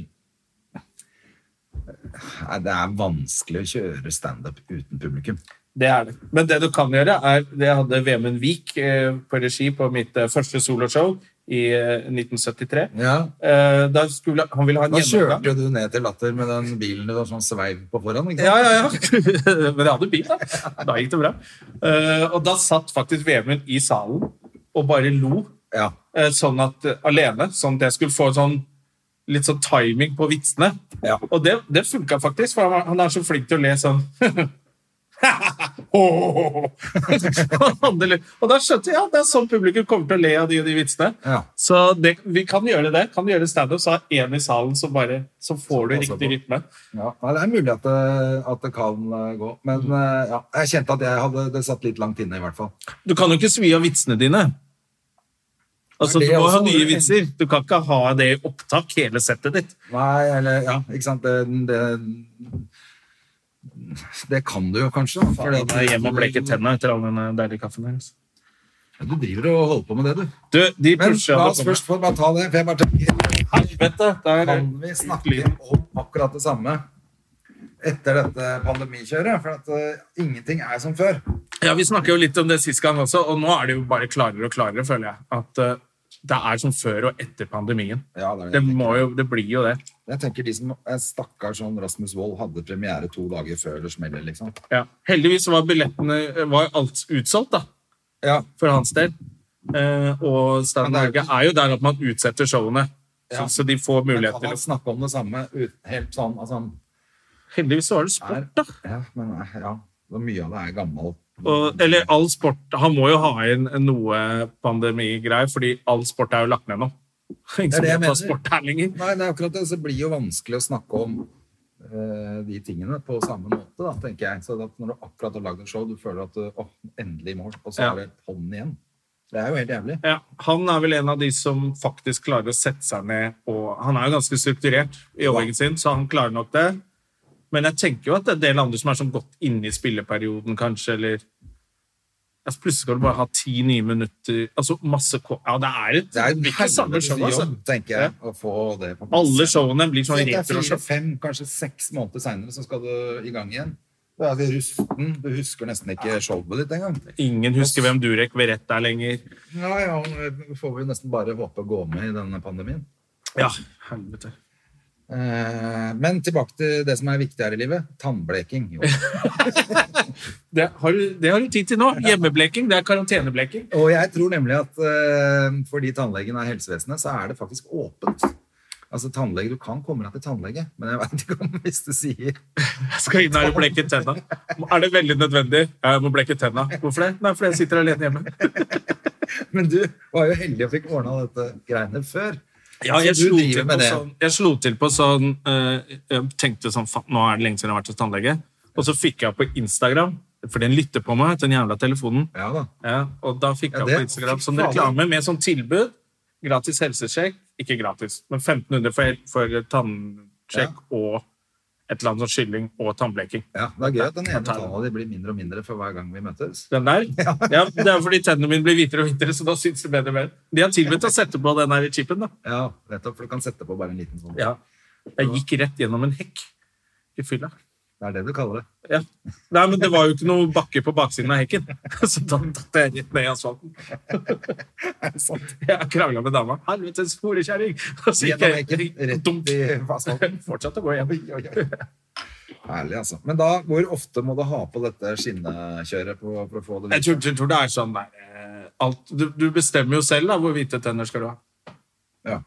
Speaker 2: Nei, Det er vanskelig å kjøre standup uten publikum.
Speaker 1: Det er det. Men det du kan gjøre, er Det hadde Vemund Vik eh, på regi på mitt eh, første soloshow i eh, 1973.
Speaker 2: Ja,
Speaker 1: Eh, da skulle han ville ha en
Speaker 2: Da
Speaker 1: gjennomgang.
Speaker 2: kjørte jo du ned til Latter med den bilen du var sånn sveiv på foran. ikke
Speaker 1: Ja,
Speaker 2: sant?
Speaker 1: ja, ja. Men jeg hadde bil, da. Da gikk det bra. Eh, og da satt faktisk Vemund i salen og bare lo
Speaker 2: ja.
Speaker 1: eh, sånn at, alene, sånn at jeg skulle få sånn, litt sånn timing på vitsene.
Speaker 2: Ja.
Speaker 1: Og det, det funka faktisk, for han, var- han er så flink til å le sånn. og da skjønte jeg ja, det er sånn publikum kommer til å le av de og de vitsene.
Speaker 2: Ja.
Speaker 1: Så det, vi kan gjøre det. Kan du gjøre standup, så er én i salen, så, bare, så får du
Speaker 2: passer
Speaker 1: riktig rytme.
Speaker 2: Ja, Nei, det er mulig at det, at det kan eh, gå. Men eh, ja, jeg kjente at jeg hadde, det satt litt langt inne, i hvert fall.
Speaker 1: Du kan jo ikke svi av vitsene dine. Altså,
Speaker 2: Er
Speaker 1: Du
Speaker 2: det
Speaker 1: må ha
Speaker 2: også-
Speaker 1: nye vitser. Du kan ikke ha det i opptak, hele settet ditt.
Speaker 2: Nei, eller Ja, ikke sant. Det, det, det kan du jo kanskje. da, fordi
Speaker 1: Jeg
Speaker 2: at-
Speaker 1: er hjemme og bleker tennene etter all denne deilige kaffen her. altså.
Speaker 2: Ja, Du driver og holder på med det, du.
Speaker 1: Du, de
Speaker 2: Men
Speaker 1: pusher
Speaker 2: la
Speaker 1: alle
Speaker 2: oss
Speaker 1: på
Speaker 2: først få bare ta det. for jeg bare tenker...
Speaker 1: meg. Helvete! Der
Speaker 2: kan vi snakke om akkurat det samme etter dette pandemikjøret. For at eh, ingenting er som før.
Speaker 1: Ja, Vi snakket jo litt om det sist gang også, og nå er det jo bare klarere og klarere, føler jeg. At eh, det er som før og etter pandemien.
Speaker 2: Ja, det er det.
Speaker 1: Det, må jo, det blir jo det.
Speaker 2: Jeg tenker de som eh, Stakkars sånn Rasmus Wold hadde premiere to dager før det smeller, liksom.
Speaker 1: Ja. Heldigvis var billettene var alt utsolgt, da.
Speaker 2: Ja,
Speaker 1: for hans del. Eh, og Stand
Speaker 2: Men det
Speaker 1: Norge
Speaker 2: er jo ikke-
Speaker 1: er jo der at man utsetter showene,
Speaker 2: Ja.
Speaker 1: så, så de får
Speaker 2: men
Speaker 1: mulighet
Speaker 2: kan
Speaker 1: til
Speaker 2: han
Speaker 1: å
Speaker 2: snakke om det samme ut, helt sånn altså, han
Speaker 1: Heldigvis så var det sport,
Speaker 2: er,
Speaker 1: da.
Speaker 2: Ja, men eh, ja, så mye av det er gammelt.
Speaker 1: Og, eller all sport Han må jo ha inn noe pandemigreier, fordi all sport er jo lagt ned nå. Ingen som
Speaker 2: det jeg
Speaker 1: kan ta
Speaker 2: mener.
Speaker 1: sport her lenger.
Speaker 2: Nei, det er akkurat det. Så blir det jo vanskelig å snakke om eh, de tingene på samme måte, da, tenker jeg. Så at når du akkurat har lagd et show, du føler at du, åh, endelig i mål, og så
Speaker 1: Ja.
Speaker 2: er det hånden igjen. Det er jo helt jævlig.
Speaker 1: Ja, han er vel en av de som faktisk klarer å sette seg ned og Han er jo ganske strukturert i jobbingen sin, så han klarer nok det. Men jeg tenker jo at det er en del andre som er sånn godt inne i spilleperioden, kanskje, eller altså, Plutselig skal du bare ha ti nye minutter Altså masse ko- Ja, det er et
Speaker 2: Det er en
Speaker 1: blir ikke samme
Speaker 2: helvetes
Speaker 1: show, altså.
Speaker 2: jobb, tenker jeg, å få det på plass.
Speaker 1: Alle showene blir
Speaker 2: Så
Speaker 1: sånn
Speaker 2: det er fire,
Speaker 1: retroshow.
Speaker 2: fem, kanskje seks måneder seinere, så skal du i gang igjen. Du er litt rusten. Du husker nesten ikke showet ditt engang.
Speaker 1: Ingen husker hvem Durek Verrett er lenger.
Speaker 2: Ja, ja, det får vi nesten bare håpe å gå med i denne pandemien.
Speaker 1: Ja, helvete.
Speaker 2: Eh, Men tilbake til det som er viktig her i livet. Tannbleking. Jo.
Speaker 1: Det har, du, det har du tid til nå. Hjemmebleking. Det er karantenebleking.
Speaker 2: Og jeg tror nemlig at eh, fordi tannlegen er helsevesenet, så er det faktisk åpent. Altså tannlege, Du kan komme deg til tannlege, men jeg veit ikke om hvis du sier
Speaker 1: Jeg skal inn her og bleke tenna. Er det veldig nødvendig? Ja, Jeg må bleke tenna. Hvorfor det? Nei, fordi jeg sitter alene hjemme.
Speaker 2: Men du var jo heldig og fikk ordna dette greiene før.
Speaker 1: Ja, jeg
Speaker 2: Så Altså, du
Speaker 1: slo,
Speaker 2: driver
Speaker 1: til på
Speaker 2: med det.
Speaker 1: sånn, jeg slo til på sånn eh, Jeg tenkte sånn faen, nå er det lenge siden jeg har vært hos tannlege. Og så fikk jeg på Instagram, fordi den lytter på meg, den jævla telefonen.
Speaker 2: Ja da.
Speaker 1: Ja, og da fikk
Speaker 2: Ja,
Speaker 1: jeg
Speaker 2: det-
Speaker 1: på Instagram som
Speaker 2: Fy faen.
Speaker 1: reklame med sånn tilbud. Gratis helsesjekk. Ikke gratis, men 1500 for, for tannsjekk og et eller annet sånn kylling og tannbleking.
Speaker 2: Ja, Det er gøy at den ene
Speaker 1: tar den.
Speaker 2: talla di blir mindre og mindre for hver gang vi møtes.
Speaker 1: Den der? Ja. Det er fordi tennene mine blir hvitere og hvitere, så da syns det bedre og bedre. De har tilbudt å sette på den her i chipen, da.
Speaker 2: Ja, nettopp, for du kan sette på bare en liten sånn.
Speaker 1: Ja. Jeg gikk rett gjennom en hekk i fylla.
Speaker 2: Det er det du kaller det.
Speaker 1: Ja. Nei, men det var jo ikke noe bakke på baksiden av hekken, så da datt jeg rett ned i asfalten. Jeg krangla med dama. 'Helvetes horekjerring!' Og så gikk
Speaker 2: Gjennom
Speaker 1: jeg
Speaker 2: hekken,
Speaker 1: dunk.
Speaker 2: rett i asfalten.
Speaker 1: Fortsatte å gå
Speaker 2: Oi,
Speaker 1: igjen.
Speaker 2: oi, oi. Herlig, altså. Men da, hvor ofte må du ha på dette skinnekjøret på, for å få det
Speaker 1: Jeg tror, tror, tror det er sånn der eh, alt, du, du bestemmer jo selv da, hvor hvite tenner skal du ha.
Speaker 2: Ja.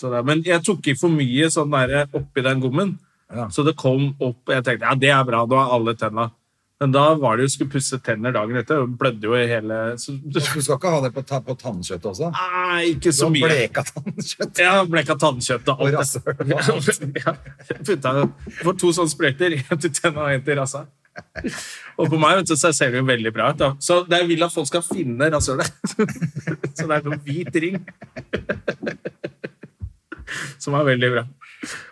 Speaker 1: Så det, men jeg tok i for mye sånn der oppi den gommen.
Speaker 2: Ja.
Speaker 1: Så det kom opp, og jeg tenkte ja, det er bra, nå er alle tenna. Men da var det jo skulle pusse tenner dagen etter, og blødde jo i hele så,
Speaker 2: Du skal ikke ha det på, ta, på tannkjøttet også?
Speaker 1: Nei, ikke
Speaker 2: Du
Speaker 1: så
Speaker 2: har
Speaker 1: mye.
Speaker 2: bleka tannkjøtt.
Speaker 1: Ja, bleka tannkjøtt og
Speaker 2: Og
Speaker 1: alt.
Speaker 2: rasshøl og
Speaker 1: det. Ja, jeg putta for to sånne sprøyter, en til tenna og en til rassa. Og på meg vet du, så ser det jo veldig bra ut. da. Så det jeg vil at folk skal finne altså. rasshølet. Så det er noen hvit ring. Som er veldig bra.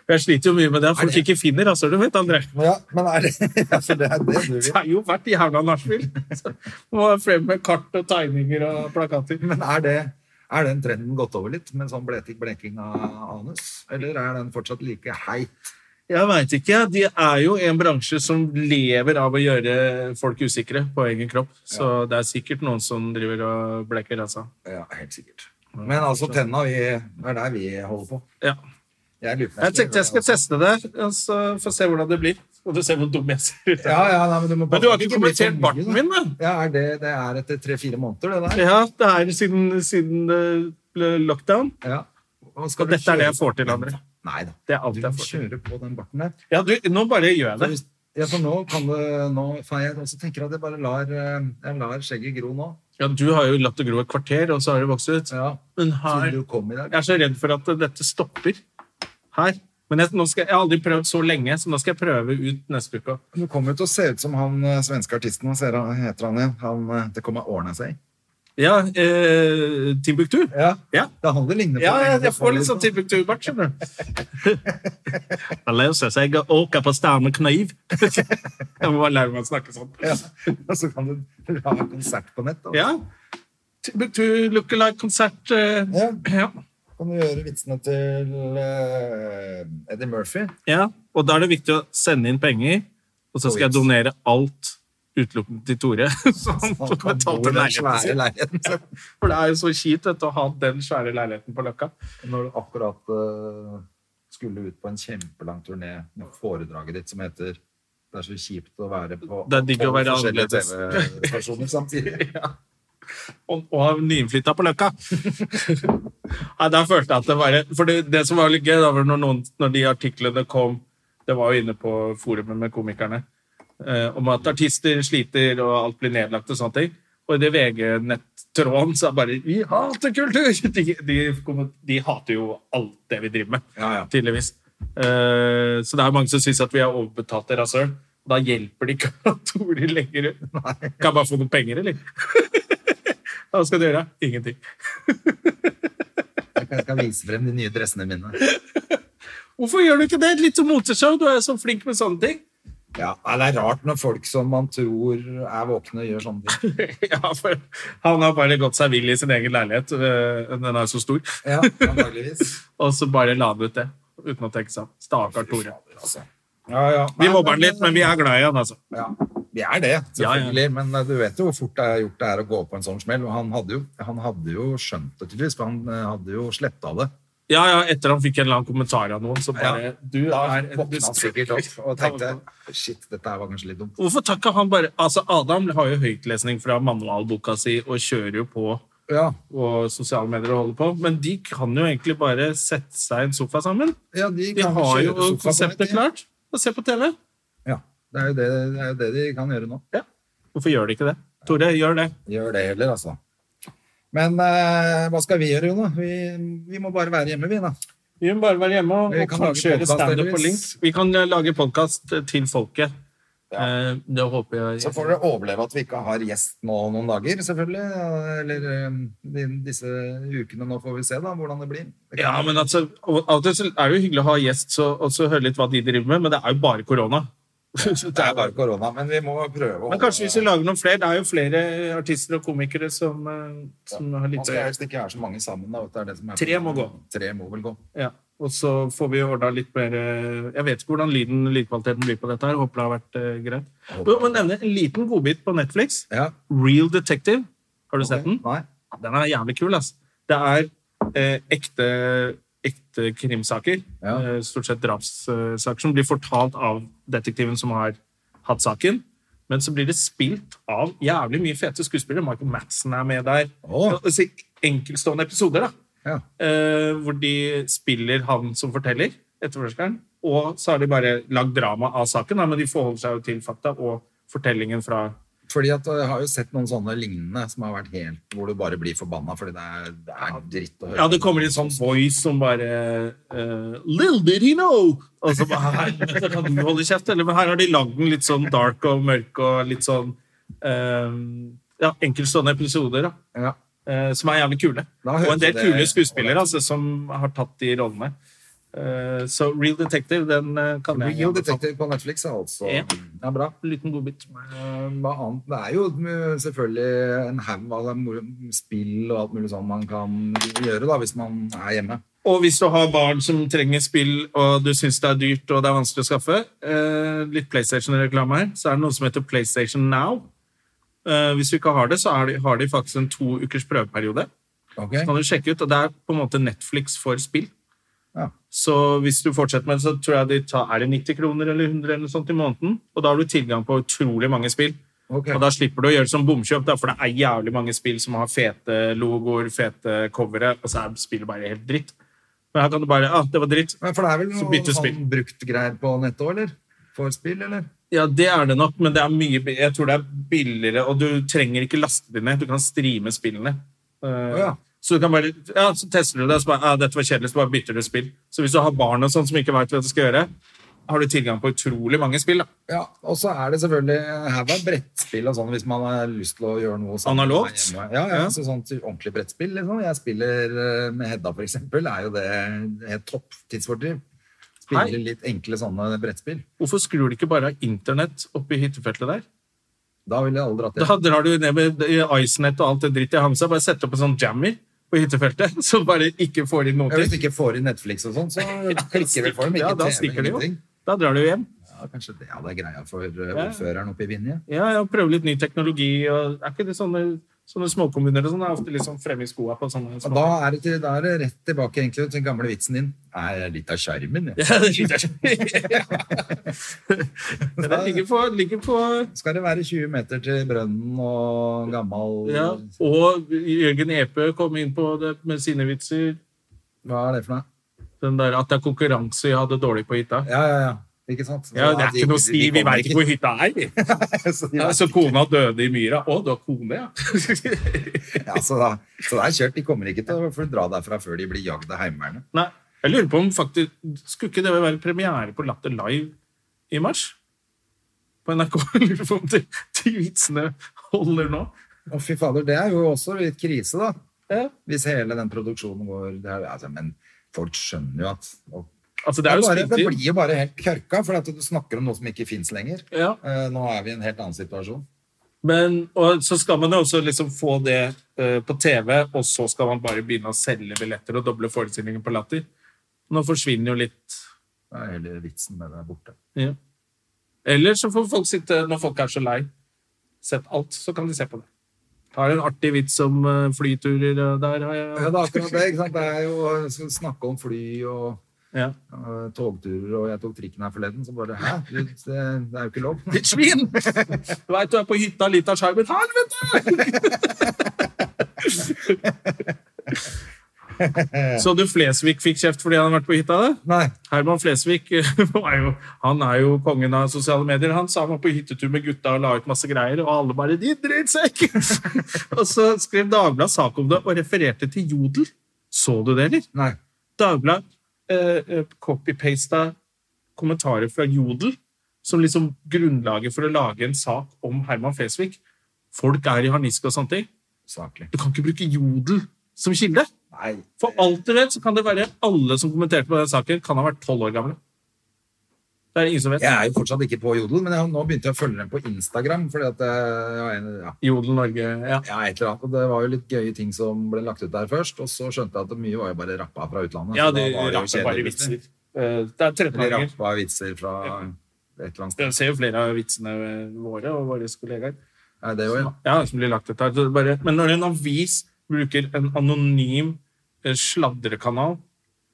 Speaker 1: Jeg sliter jo mye med det. at Folk
Speaker 2: det-
Speaker 1: ikke finner, altså. Du vet, André.
Speaker 2: Ja, men er det ja, for det er det du
Speaker 1: Det
Speaker 2: vil.
Speaker 1: er jo vært jævla nachspiel. Så Må være frem med kart og tegninger og plakater.
Speaker 2: Men er det er den trenden gått over litt med sånn bleking, bleking av anus? Eller er den fortsatt like heit?
Speaker 1: Jeg veit ikke. De er jo en bransje som lever av å gjøre folk usikre på egen kropp. Så det er sikkert noen som driver og bleker, altså.
Speaker 2: Ja, helt sikkert. Men altså, tenna vi, det er der vi holder på.
Speaker 1: Ja.
Speaker 2: Jeg, lurer på om
Speaker 1: Jeg tenkte
Speaker 2: gjøre altså.
Speaker 1: jeg skal teste det, og så får jeg se hvordan det blir. Og du ser hvor dum jeg ser ut.
Speaker 2: det. Ja, ja, nei, men du må
Speaker 1: Men du har ikke
Speaker 2: det blir for
Speaker 1: kommentert
Speaker 2: mye,
Speaker 1: barten
Speaker 2: da.
Speaker 1: min, da?
Speaker 2: Ja, er det, det er etter tre-fire måneder, det der.
Speaker 1: Ja, det er siden, siden det ble lockdown.
Speaker 2: Ja. Og
Speaker 1: Og dette er det jeg får til, André.
Speaker 2: Nei da.
Speaker 1: Det er alt
Speaker 2: du
Speaker 1: jeg
Speaker 2: må
Speaker 1: får til.
Speaker 2: kjøre på den barten der.
Speaker 1: Ja, du, nå bare gjør jeg
Speaker 2: For
Speaker 1: det.
Speaker 2: hvis- Ja, for nå kan det nå, faen, Jeg også tenker at jeg bare lar, eh, jeg lar skjegget gro nå.
Speaker 1: Ja, du har jo latt det gro et kvarter, og så har det vokst ut.
Speaker 2: Ja.
Speaker 1: Men
Speaker 2: Siden
Speaker 1: her
Speaker 2: du kom i dag.
Speaker 1: Jeg er så redd for at dette stopper her. Men jeg, nå skal, jeg har aldri prøvd så lenge, så nå skal jeg prøve ut neste uke.
Speaker 2: Du kommer jo til å se ut som han eh, svenske artisten. Hva ser han- heter han igjen? Han, eh, det kommer ordne seg.
Speaker 1: Ja, eh, Timbuktu.
Speaker 2: Ja.
Speaker 1: Ja.
Speaker 2: Det er han det ligner på.
Speaker 1: Ja, jeg, jeg får litt sånn Timbuktu-bart, skjønner du. Det løser seg å åke på stedet med kniv. Jeg må bare lære meg å snakke sånn.
Speaker 2: Ja. Og så kan du ha konsert på nett. Da.
Speaker 1: Ja. Timbuktu lookalike-konsert. Eh,
Speaker 2: Ja.
Speaker 1: ja.
Speaker 2: Kan du gjøre vitsene til eh, Eddie Murphy?
Speaker 1: ja. Og da er det viktig å sende inn penger, og så skal jeg donere alt utelukkende til Tore. Så han får betalt
Speaker 2: den
Speaker 1: en leilighet.
Speaker 2: svære leiligheten. sin.
Speaker 1: For det er jo så kjipt vet du, å ha den svære leiligheten på Løkka.
Speaker 2: Når du akkurat eh, skulle ut på en kjempelang turné med foredraget ditt som heter Det er så kjipt å være på
Speaker 1: Det er digg å
Speaker 2: tolv
Speaker 1: være
Speaker 2: forskjellige
Speaker 1: annerledes.
Speaker 2: TV-stasjoner samtidig.
Speaker 1: Og, og nyinnflytta på Løkka. Nei, der følte jeg at det bare For det, det som var litt gøy, da var når, noen, når de artiklene kom Det var jo inne på forumet med komikerne. Eh, om at artister sliter, og alt blir nedlagt og sånne ting. Og i det VG-nettråden så er bare Vi hater kultur! De, de, kommer- de hater jo alt det vi driver med.
Speaker 2: Ja, ja.
Speaker 1: tydeligvis. Eh, så det er mange som syns at vi er overbetalte rasøl. Da hjelper det ikke at Tore legger ut. Kan jeg bare få noen penger, eller? Hva skal du gjøre? Ingenting.
Speaker 2: Jeg skal vise frem de nye dressene mine.
Speaker 1: Hvorfor gjør du ikke det? Et lite moteshow? Du er jo så flink med sånne ting.
Speaker 2: Ja, nei, Det er rart når folk som man tror er våkne, gjør sånne ting.
Speaker 1: ja, for han har bare gått seg vill i sin egen leilighet. eh, Den er så stor.
Speaker 2: Ja, antageligvis.
Speaker 1: Og så bare la han ut det. Uten å tenke seg om. Stakkar Tore.
Speaker 2: Altså. Ja, ja.
Speaker 1: Vi
Speaker 2: Nei,
Speaker 1: mobber han litt, men vi er glad i han, altså.
Speaker 2: Ja, vi er det,
Speaker 1: Ja, ja.
Speaker 2: selvfølgelig. Men eh, du vet jo hvor fort det er gjort det er å gå på en sånn smell. Og han hadde jo, han hadde jo skjønt det, tydeligvis, for han eh, hadde jo sletta det.
Speaker 1: Ja, ja, etter han fikk en eller annen kommentar av noen, så bare Du
Speaker 2: Da
Speaker 1: er
Speaker 2: våkna han sikkert opp og tenkte
Speaker 1: Ja,
Speaker 2: shit, dette her var kanskje litt dumt.
Speaker 1: Hvorfor takker han bare Altså, Adam har jo høytlesning fra manualboka si og kjører jo på
Speaker 2: Ja,
Speaker 1: og sosiale medier og holder på, men de kan jo egentlig bare sette seg i en sofa sammen.
Speaker 2: ja de,
Speaker 1: De
Speaker 2: kan
Speaker 1: har
Speaker 2: kjøre
Speaker 1: jo
Speaker 2: sofa på
Speaker 1: konseptet
Speaker 2: nett, ja.
Speaker 1: klart og se på TV.
Speaker 2: Ja, det er, jo det, det er jo det de kan gjøre nå.
Speaker 1: Hvorfor gjør de ikke det? Tore, gjør det.
Speaker 2: Gjør det heller, altså. Men eh, hva skal vi gjøre, Jona? Vi, vi må bare være hjemme, vi, da.
Speaker 1: Vi må bare være hjemme og,
Speaker 2: Vi
Speaker 1: og
Speaker 2: kan
Speaker 1: kanskje
Speaker 2: lage
Speaker 1: gjøre
Speaker 2: podcast,
Speaker 1: standup på
Speaker 2: heldigvis.
Speaker 1: link. Vi kan eh, lage podkast til folket. Eh, Det håper jeg
Speaker 2: Så får dere overleve at vi ikke har gjest nå noen dager, selvfølgelig. Eller eh, din- disse ukene nå får vi se da, hvordan det blir. Det
Speaker 1: Ja,
Speaker 2: kan-
Speaker 1: men altså, av og til så er det jo hyggelig å ha gjest så, og så høre litt hva de driver med, men det er jo bare korona. Så
Speaker 2: det er bare korona, men vi må prøve å
Speaker 1: Men kanskje hvis vi lager noen flere. Det er jo flere artister og komikere som, eh, som har
Speaker 2: Man
Speaker 1: litt å
Speaker 2: skal
Speaker 1: gjøre.
Speaker 2: helst ikke være så mange sammen. Da, vet du, det er det som er
Speaker 1: Tre må gå.
Speaker 2: Tre må vel gå.
Speaker 1: Ja. Og så får vi ordna litt mer eh, Jeg vet ikke hvordan lyden lydkvaliteten blir på dette. her. Håper det har vært eh, greit.
Speaker 2: Håper
Speaker 1: Jeg må nevne en liten godbit på Netflix.
Speaker 2: Ja.
Speaker 1: Real Detective. Har du sett den?
Speaker 2: Nei.
Speaker 1: Den er jævlig kul, ass. Det er eh, ekte, ekte krimsaker.
Speaker 2: Ja.
Speaker 1: Eh, stort sett drapssaker som blir fortalt av detektiven som har hatt saken. Men så blir det spilt av jævlig mye fete skuespillere. Michael Madsen er med der.
Speaker 2: Åh.
Speaker 1: Altså, enkeltstående episoder, da.
Speaker 2: Ja.
Speaker 1: Eh, hvor de spiller han som forteller, etterforskeren. Og så har de bare lagd drama av saken, da, men de forholder seg jo til fakta og fortellingen fra
Speaker 2: Fordi at eh, Jeg har jo sett noen sånne lignende som har vært helt hvor du bare blir forbanna fordi det er, det er dritt å høre.
Speaker 1: Ja, det kommer en sånn voice som bare eh, Little did he know! Og så bare Helvete, kan du holde kjeft, eller? Men her har de lagd den litt sånn dark og mørk og litt sånn eh, Ja, enkeltstående episoder, da.
Speaker 2: Ja.
Speaker 1: eh, som er jævlig kule.
Speaker 2: Da
Speaker 1: Og
Speaker 2: høres
Speaker 1: en del
Speaker 2: det-
Speaker 1: kule skuespillere altså, som har tatt de rollene. Eh, Så Real Detective, den eh, kan jeg
Speaker 2: Real
Speaker 1: anbefale.
Speaker 2: Detective på Netflix er altså
Speaker 1: Ja.
Speaker 2: Det er bra.
Speaker 1: Liten godbit.
Speaker 2: Eh, Hva annet? Det er jo mm, selvfølgelig en haug av mor- spill og alt mulig sånn man kan gjøre da, hvis man er hjemme.
Speaker 1: Og hvis du har barn som trenger spill, og du syns det er dyrt og det er vanskelig å skaffe, eh, litt PlayStation-reklame her, så er det noe som heter PlayStation Now. Eh, hvis du ikke har det, så er de, har de faktisk en to ukers prøveperiode. Så kan du sjekke ut, og Det er på en måte Netflix for spill.
Speaker 2: Ja.
Speaker 1: Så hvis du fortsetter med det, så tror jeg de tar er det 90 kroner eller 100 eller noe sånt i måneden. Og da har du tilgang på utrolig mange spill.
Speaker 2: Ok.
Speaker 1: Og da slipper du å gjøre sånn bomkjøp, da, for det er jævlig mange spill som har fete logoer, fete covere, og så er spillet bare helt dritt. Men her kan du bare ah, det var dritt.
Speaker 2: Men For det er vel
Speaker 1: Så
Speaker 2: noe
Speaker 1: bytte spill.
Speaker 2: sånn brukt greier på nettet òg, eller? For spill, eller?
Speaker 1: Ja, det er det nok, men det er mye, bi- jeg tror det er billigere, og du trenger ikke laste det ned, du kan streame spillene. Eh,
Speaker 2: ja.
Speaker 1: Så du kan bare, ja, så tester du det, så bare, ja, dette var kjedelig, så bare bytter du spill. Så hvis du har barn og sånn som ikke vet hva du skal gjøre, har du tilgang på utrolig mange spill, da.
Speaker 2: Ja, og så er det selvfølgelig en haug av brettspill og sånn hvis man har lyst til å gjøre noe sammen
Speaker 1: Analogt?
Speaker 2: med hjemme. Ja, ja,
Speaker 1: Ja.
Speaker 2: Så sånn til ordentlig brettspill. Liksom. Jeg spiller eh, med Hedda, for eksempel. Er jo det helt topp tidsfordriv. Spiller
Speaker 1: Hei.
Speaker 2: litt enkle sånne brettspill.
Speaker 1: Hvorfor skrur du ikke bare av internett oppi hyttefeltet der?
Speaker 2: Da ville jeg aldri hatt det.
Speaker 1: Da drar du ned med Icenet og alt det dritt i Hamsa, bare setter opp en sånn jammer på hyttefeltet, så bare ikke får de noe
Speaker 2: Ja, Hvis du
Speaker 1: til.
Speaker 2: ikke får i Netflix og sånn, så klikker vel for dem. Ikke
Speaker 1: Ja, da
Speaker 2: TV,
Speaker 1: stikker de jo.
Speaker 2: ingenting.
Speaker 1: Da drar du hjem.
Speaker 2: Ja, kanskje det hadde jeg greia for eh, ordføreren oppe i Vinje.
Speaker 1: Ja, ja, prøve litt ny teknologi, og er ikke det sånne, sånne småkommuner og sånn, er ofte litt sånn fremme i skoa på sånne
Speaker 2: Og
Speaker 1: små...
Speaker 2: Da er, det til, da er det rett tilbake egentlig til den gamle vitsen din. Er litt av skjermen, ja.
Speaker 1: Ja, det er litt- Men det ligger på, ligger på
Speaker 2: Skal det være 20 meter til brønnen og gammel
Speaker 1: ja. Og Jørgen Epe kom inn på det med sine vitser.
Speaker 2: Hva er det for noe?
Speaker 1: Den der at det er konkurranse i å ha det dårlig på hytta.
Speaker 2: Ja, ja, ja. Ikke sant? Så
Speaker 1: Ja, det
Speaker 2: da-
Speaker 1: er ikke noe sti, vi
Speaker 2: kommer
Speaker 1: veit ikke hvor hytta er. vi.
Speaker 2: Så, de
Speaker 1: Ja,
Speaker 2: vet-
Speaker 1: så kona døde i myra. Å, du har kone, ja.
Speaker 2: ja, så, da, så det er kjørt. De kommer ikke til å få dra derfra før de blir jagd av Heimevernet.
Speaker 1: Nei, jeg lurer på om faktisk Skulle ikke det være premiere på Latter Live i mars? På NRK? Jeg lurer på om de, de vitsene holder nå.
Speaker 2: Å, fy fader, det er jo også litt krise, da.
Speaker 1: Ja.
Speaker 2: Hvis hele den produksjonen går det er, altså, Men folk skjønner jo at og,
Speaker 1: Altså, det er jo
Speaker 2: bare,
Speaker 1: spilt
Speaker 2: det
Speaker 1: inn.
Speaker 2: blir jo bare helt kørka, for at du snakker om noe som ikke fins lenger.
Speaker 1: Ja.
Speaker 2: Eh, nå er vi i en helt annen situasjon.
Speaker 1: Men, og så skal man jo også liksom få det eh, på TV, og så skal man bare begynne å selge billetter og doble forestillingen på Latter. Nå forsvinner jo litt
Speaker 2: Da er hele vitsen med det borte.
Speaker 1: ja. Eller så får folk sitte, når folk er så lei, sett alt, så kan de se på det. Har en artig vits om eh, flyturer eh, der. Har jeg,
Speaker 2: Ja, det er akkurat det. ikke sant? Det er jo eh, skal snakke om fly og
Speaker 1: Ja.
Speaker 2: eh, togturer, og jeg tok trikken her forleden, så bare Hæ? Du, det, det er jo ikke lov.
Speaker 1: Ditt svin! Du veit du er på hytta litt av skjermen. Helvete! Så du Flesvig fikk kjeft fordi han har vært på hytta? da?
Speaker 2: Nei.
Speaker 1: Herman Flesvig var jo, han er jo kongen av sosiale medier. Han sa han var på hyttetur med gutta og la ut masse greier, og alle bare 'din drittsekk'! og så skrev Dagbladet sak om det og refererte til Jodel. Så du det, eller?
Speaker 2: Nei.
Speaker 1: Dagbladet eh, eh, copy-pasta kommentarer fra Jodel som liksom grunnlaget for å lage en sak om Herman Flesvig. Folk er i harnisk og sånne ting.
Speaker 2: Saklig.
Speaker 1: Du kan ikke bruke Jodel som kilde.
Speaker 2: Nei.
Speaker 1: For alt du vet, så kan det være alle som kommenterte på den saken, kan ha vært tolv år gamle. Det er ingen som vet.
Speaker 2: Jeg er jo fortsatt ikke på Jodel, men jeg, nå begynte jeg å følge dem på Instagram. fordi at eh, jeg, var en- ja,
Speaker 1: Jodel Norge, ja.
Speaker 2: ja, et eller annet. Og Det var jo litt gøye ting som ble lagt ut der først, og så skjønte jeg at mye var jo bare rappa fra utlandet.
Speaker 1: Ja,
Speaker 2: så da
Speaker 1: det
Speaker 2: var jo
Speaker 1: rapper
Speaker 2: kjedelig,
Speaker 1: bare
Speaker 2: plutselig.
Speaker 1: vitser. Eh, Det er
Speaker 2: Eller
Speaker 1: 13-åringer.
Speaker 2: rappa vitser fra et eller annet sted.
Speaker 1: Jeg ser jo flere av vitsene eh, våre og våre kollegaer.
Speaker 2: Nei, det var jo
Speaker 1: Ja, som blir lagt ut her. Så det Bare, men når en avis bruker en anonym eh, sladrekanal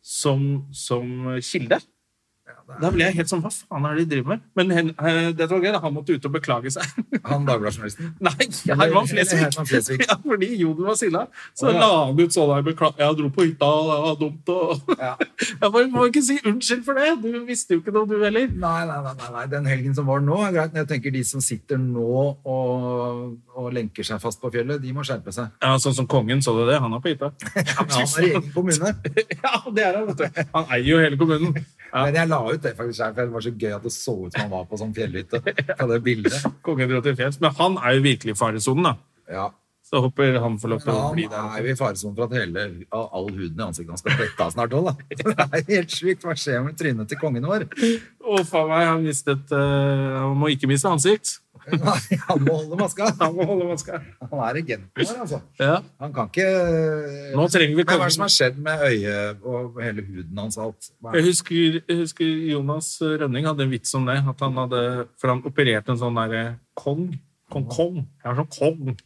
Speaker 1: som, som kilde, da blir jeg helt sånn Hva faen er det de driver med? Men hen, eh, dette var gøy, da. han måtte ut og beklage seg.
Speaker 2: han Dagbladet-journalisten.
Speaker 1: Nei, Herman
Speaker 2: Herman Flesvig.
Speaker 1: Flesvig. Ja, fordi Jodel var silla. Så
Speaker 2: Å, ja.
Speaker 1: la han ut sånn her bekla- Jeg dro på hytta, og det var dumt og
Speaker 2: Ja.
Speaker 1: Jeg bare må ikke si unnskyld for det! Du visste jo ikke noe, du heller.
Speaker 2: Nei, nei, nei, nei, nei, den helgen som var nå er greit, men jeg tenker de som sitter nå og, og lenker seg fast på fjellet, de må skjerpe seg.
Speaker 1: Ja, Sånn som kongen, så du det? Han er på hytta.
Speaker 2: Ja, men han er i egen kommune.
Speaker 1: Ja, det er han, vet du. Han eier jo hele kommunen. Ja.
Speaker 2: Men jeg la ut det faktisk selv, for det var så gøy at det så ut som han var på sånn fjellhytte. På det bildet.
Speaker 1: Kongen dro til fjells. Men han er jo virkelig i faresonen, da.
Speaker 2: Ja.
Speaker 1: Så håper han får lov til å
Speaker 2: Han
Speaker 1: bli der.
Speaker 2: er jo i faresonen for at hele, all huden i ansiktet hans skal dette av snart òg, da. Det er helt sjukt. Hva skjer med trynet til kongen vår?
Speaker 1: Å, faen meg, han mistet eh, Han må ikke miste ansikt.
Speaker 2: Nei, han må holde maska.
Speaker 1: Han må holde maska.
Speaker 2: Han er agenten vår, altså.
Speaker 1: Ja.
Speaker 2: Han kan ikke
Speaker 1: Nå trenger vi
Speaker 2: Men Hva er det som
Speaker 1: kongen.
Speaker 2: har skjedd med øyet og hele huden hans og alt? Hva
Speaker 1: Jeg
Speaker 2: er det?
Speaker 1: husker, jeg husker Jonas Rønning hadde en vits om det. At han hadde, for han opererte en sånn derre kong. Kong, kong. Jeg er sånn kong.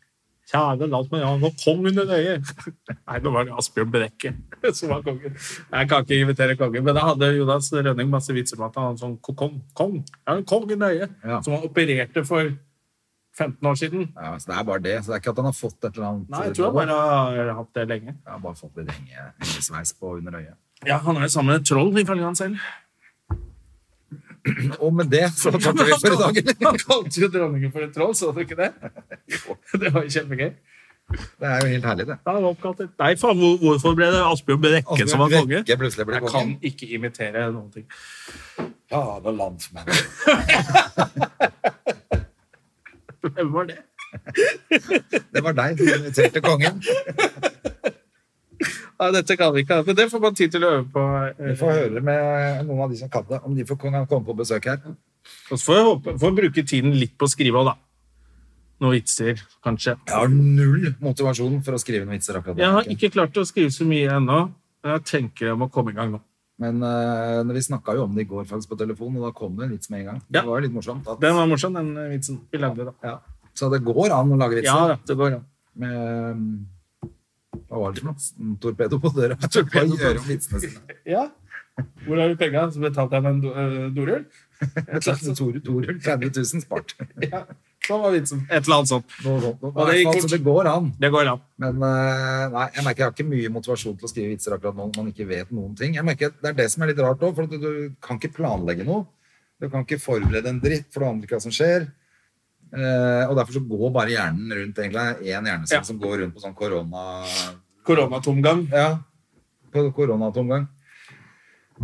Speaker 1: Kjære land, men jeg har noe kong under øyet. Nei, nå var det Asbjørn Brekke som var kongen. Jeg kan ikke invitere kongen, men da hadde Jonas Rønning masse vitser om at han hadde en sånn kong. Kong. Jeg har en kong under øyet.
Speaker 2: Ja.
Speaker 1: Som han opererte for 15 år siden.
Speaker 2: Ja, så det er bare det. Så det er ikke at han har fått et eller annet
Speaker 1: Nei, jeg tror han bare har hatt det lenge.
Speaker 2: Ja, bare fått litt henge, hengesveis på under øyet.
Speaker 1: Ja, han er jo sammen med et troll, ifølge han selv.
Speaker 2: Og med det så takker vi for i dag. eller?
Speaker 1: Han kalte jo dronningen for et troll, så du ikke det? Det var jo kjempegøy.
Speaker 2: Det er jo helt herlig, det.
Speaker 1: Da er han oppkalt etter- Nei, faen, hvor- hvorfor ble det Asbjørn Brekke som var konge?
Speaker 2: Brekke plutselig ble
Speaker 1: Jeg
Speaker 2: konge.
Speaker 1: kan ikke imitere noen ting.
Speaker 2: Ja, det er landsmenn.
Speaker 1: Hvem var det?
Speaker 2: Det var deg som inviterte kongen.
Speaker 1: Nei, dette kan vi ikke ha, men det får man tid til å øve på. eh,
Speaker 2: Vi får høre med noen av de som kan det, om de får kan komme på besøk her.
Speaker 1: Og så får jeg håpe, får bruke tiden litt på å skrive òg, da. Noen vitser, kanskje.
Speaker 2: Jeg har null motivasjon for å skrive noen vitser akkurat
Speaker 1: Jeg har
Speaker 2: nå.
Speaker 1: ikke klart å skrive så mye ennå. men Jeg tenker jeg må komme i gang nå.
Speaker 2: Men eh, vi snakka jo om det i går faktisk på telefon, og da kom det en vits med en gang.
Speaker 1: Ja.
Speaker 2: Det var jo litt morsomt. At,
Speaker 1: Den var morsom, den eh, vitsen vi lagde da.
Speaker 2: ja. Så det går an å lage vitser.
Speaker 1: Ja, da, det går an.
Speaker 2: med um, Hva var det for noe? En Torpedo på døra. Torpedo på
Speaker 1: Torpedo på-
Speaker 2: gjøre om vitsene sine.
Speaker 1: Ja. Hvor har du penga? Så betalte jeg med en do- øh, dorull.
Speaker 2: Et eller annet Tore Torul, 30 000 spart.
Speaker 1: Ja. Sånn var vitsen. Et eller annet sånt.
Speaker 2: Nå, nå, nå.
Speaker 1: Og det gikk
Speaker 2: Altså,
Speaker 1: fort.
Speaker 2: det går an.
Speaker 1: Det går an.
Speaker 2: Men eh, nei, jeg merker jeg har ikke mye motivasjon til å skrive vitser akkurat nå når man ikke vet noen ting. Jeg merker at Det er det som er litt rart òg, for at du, du kan ikke planlegge noe. Du kan ikke forberede en dritt, for du aner ikke hva som skjer. Eh, og derfor så går bare hjernen rundt, egentlig. Én hjernecelle
Speaker 1: Ja.
Speaker 2: som går rundt på sånn korona...
Speaker 1: Koronatomgang.
Speaker 2: Ja. På koronatomgang.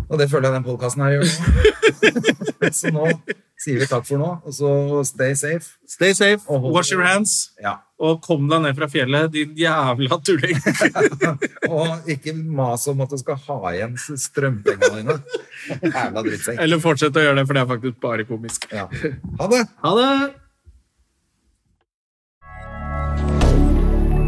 Speaker 2: Og det føler jeg den podkasten her gjør nå. så nå sier vi takk for nå, og så stay safe.
Speaker 1: Stay safe,
Speaker 2: Og hold-
Speaker 1: wash your hands,
Speaker 2: Ja.
Speaker 1: og kom deg ned fra fjellet, din jævla tulling.
Speaker 2: Og ikke mas om at du skal ha igjen strømpengene dine. Jævla drittsekk.
Speaker 1: Eller fortsett å gjøre det, for det er faktisk bare komisk.
Speaker 2: Ja. Ha det!
Speaker 1: Ha det!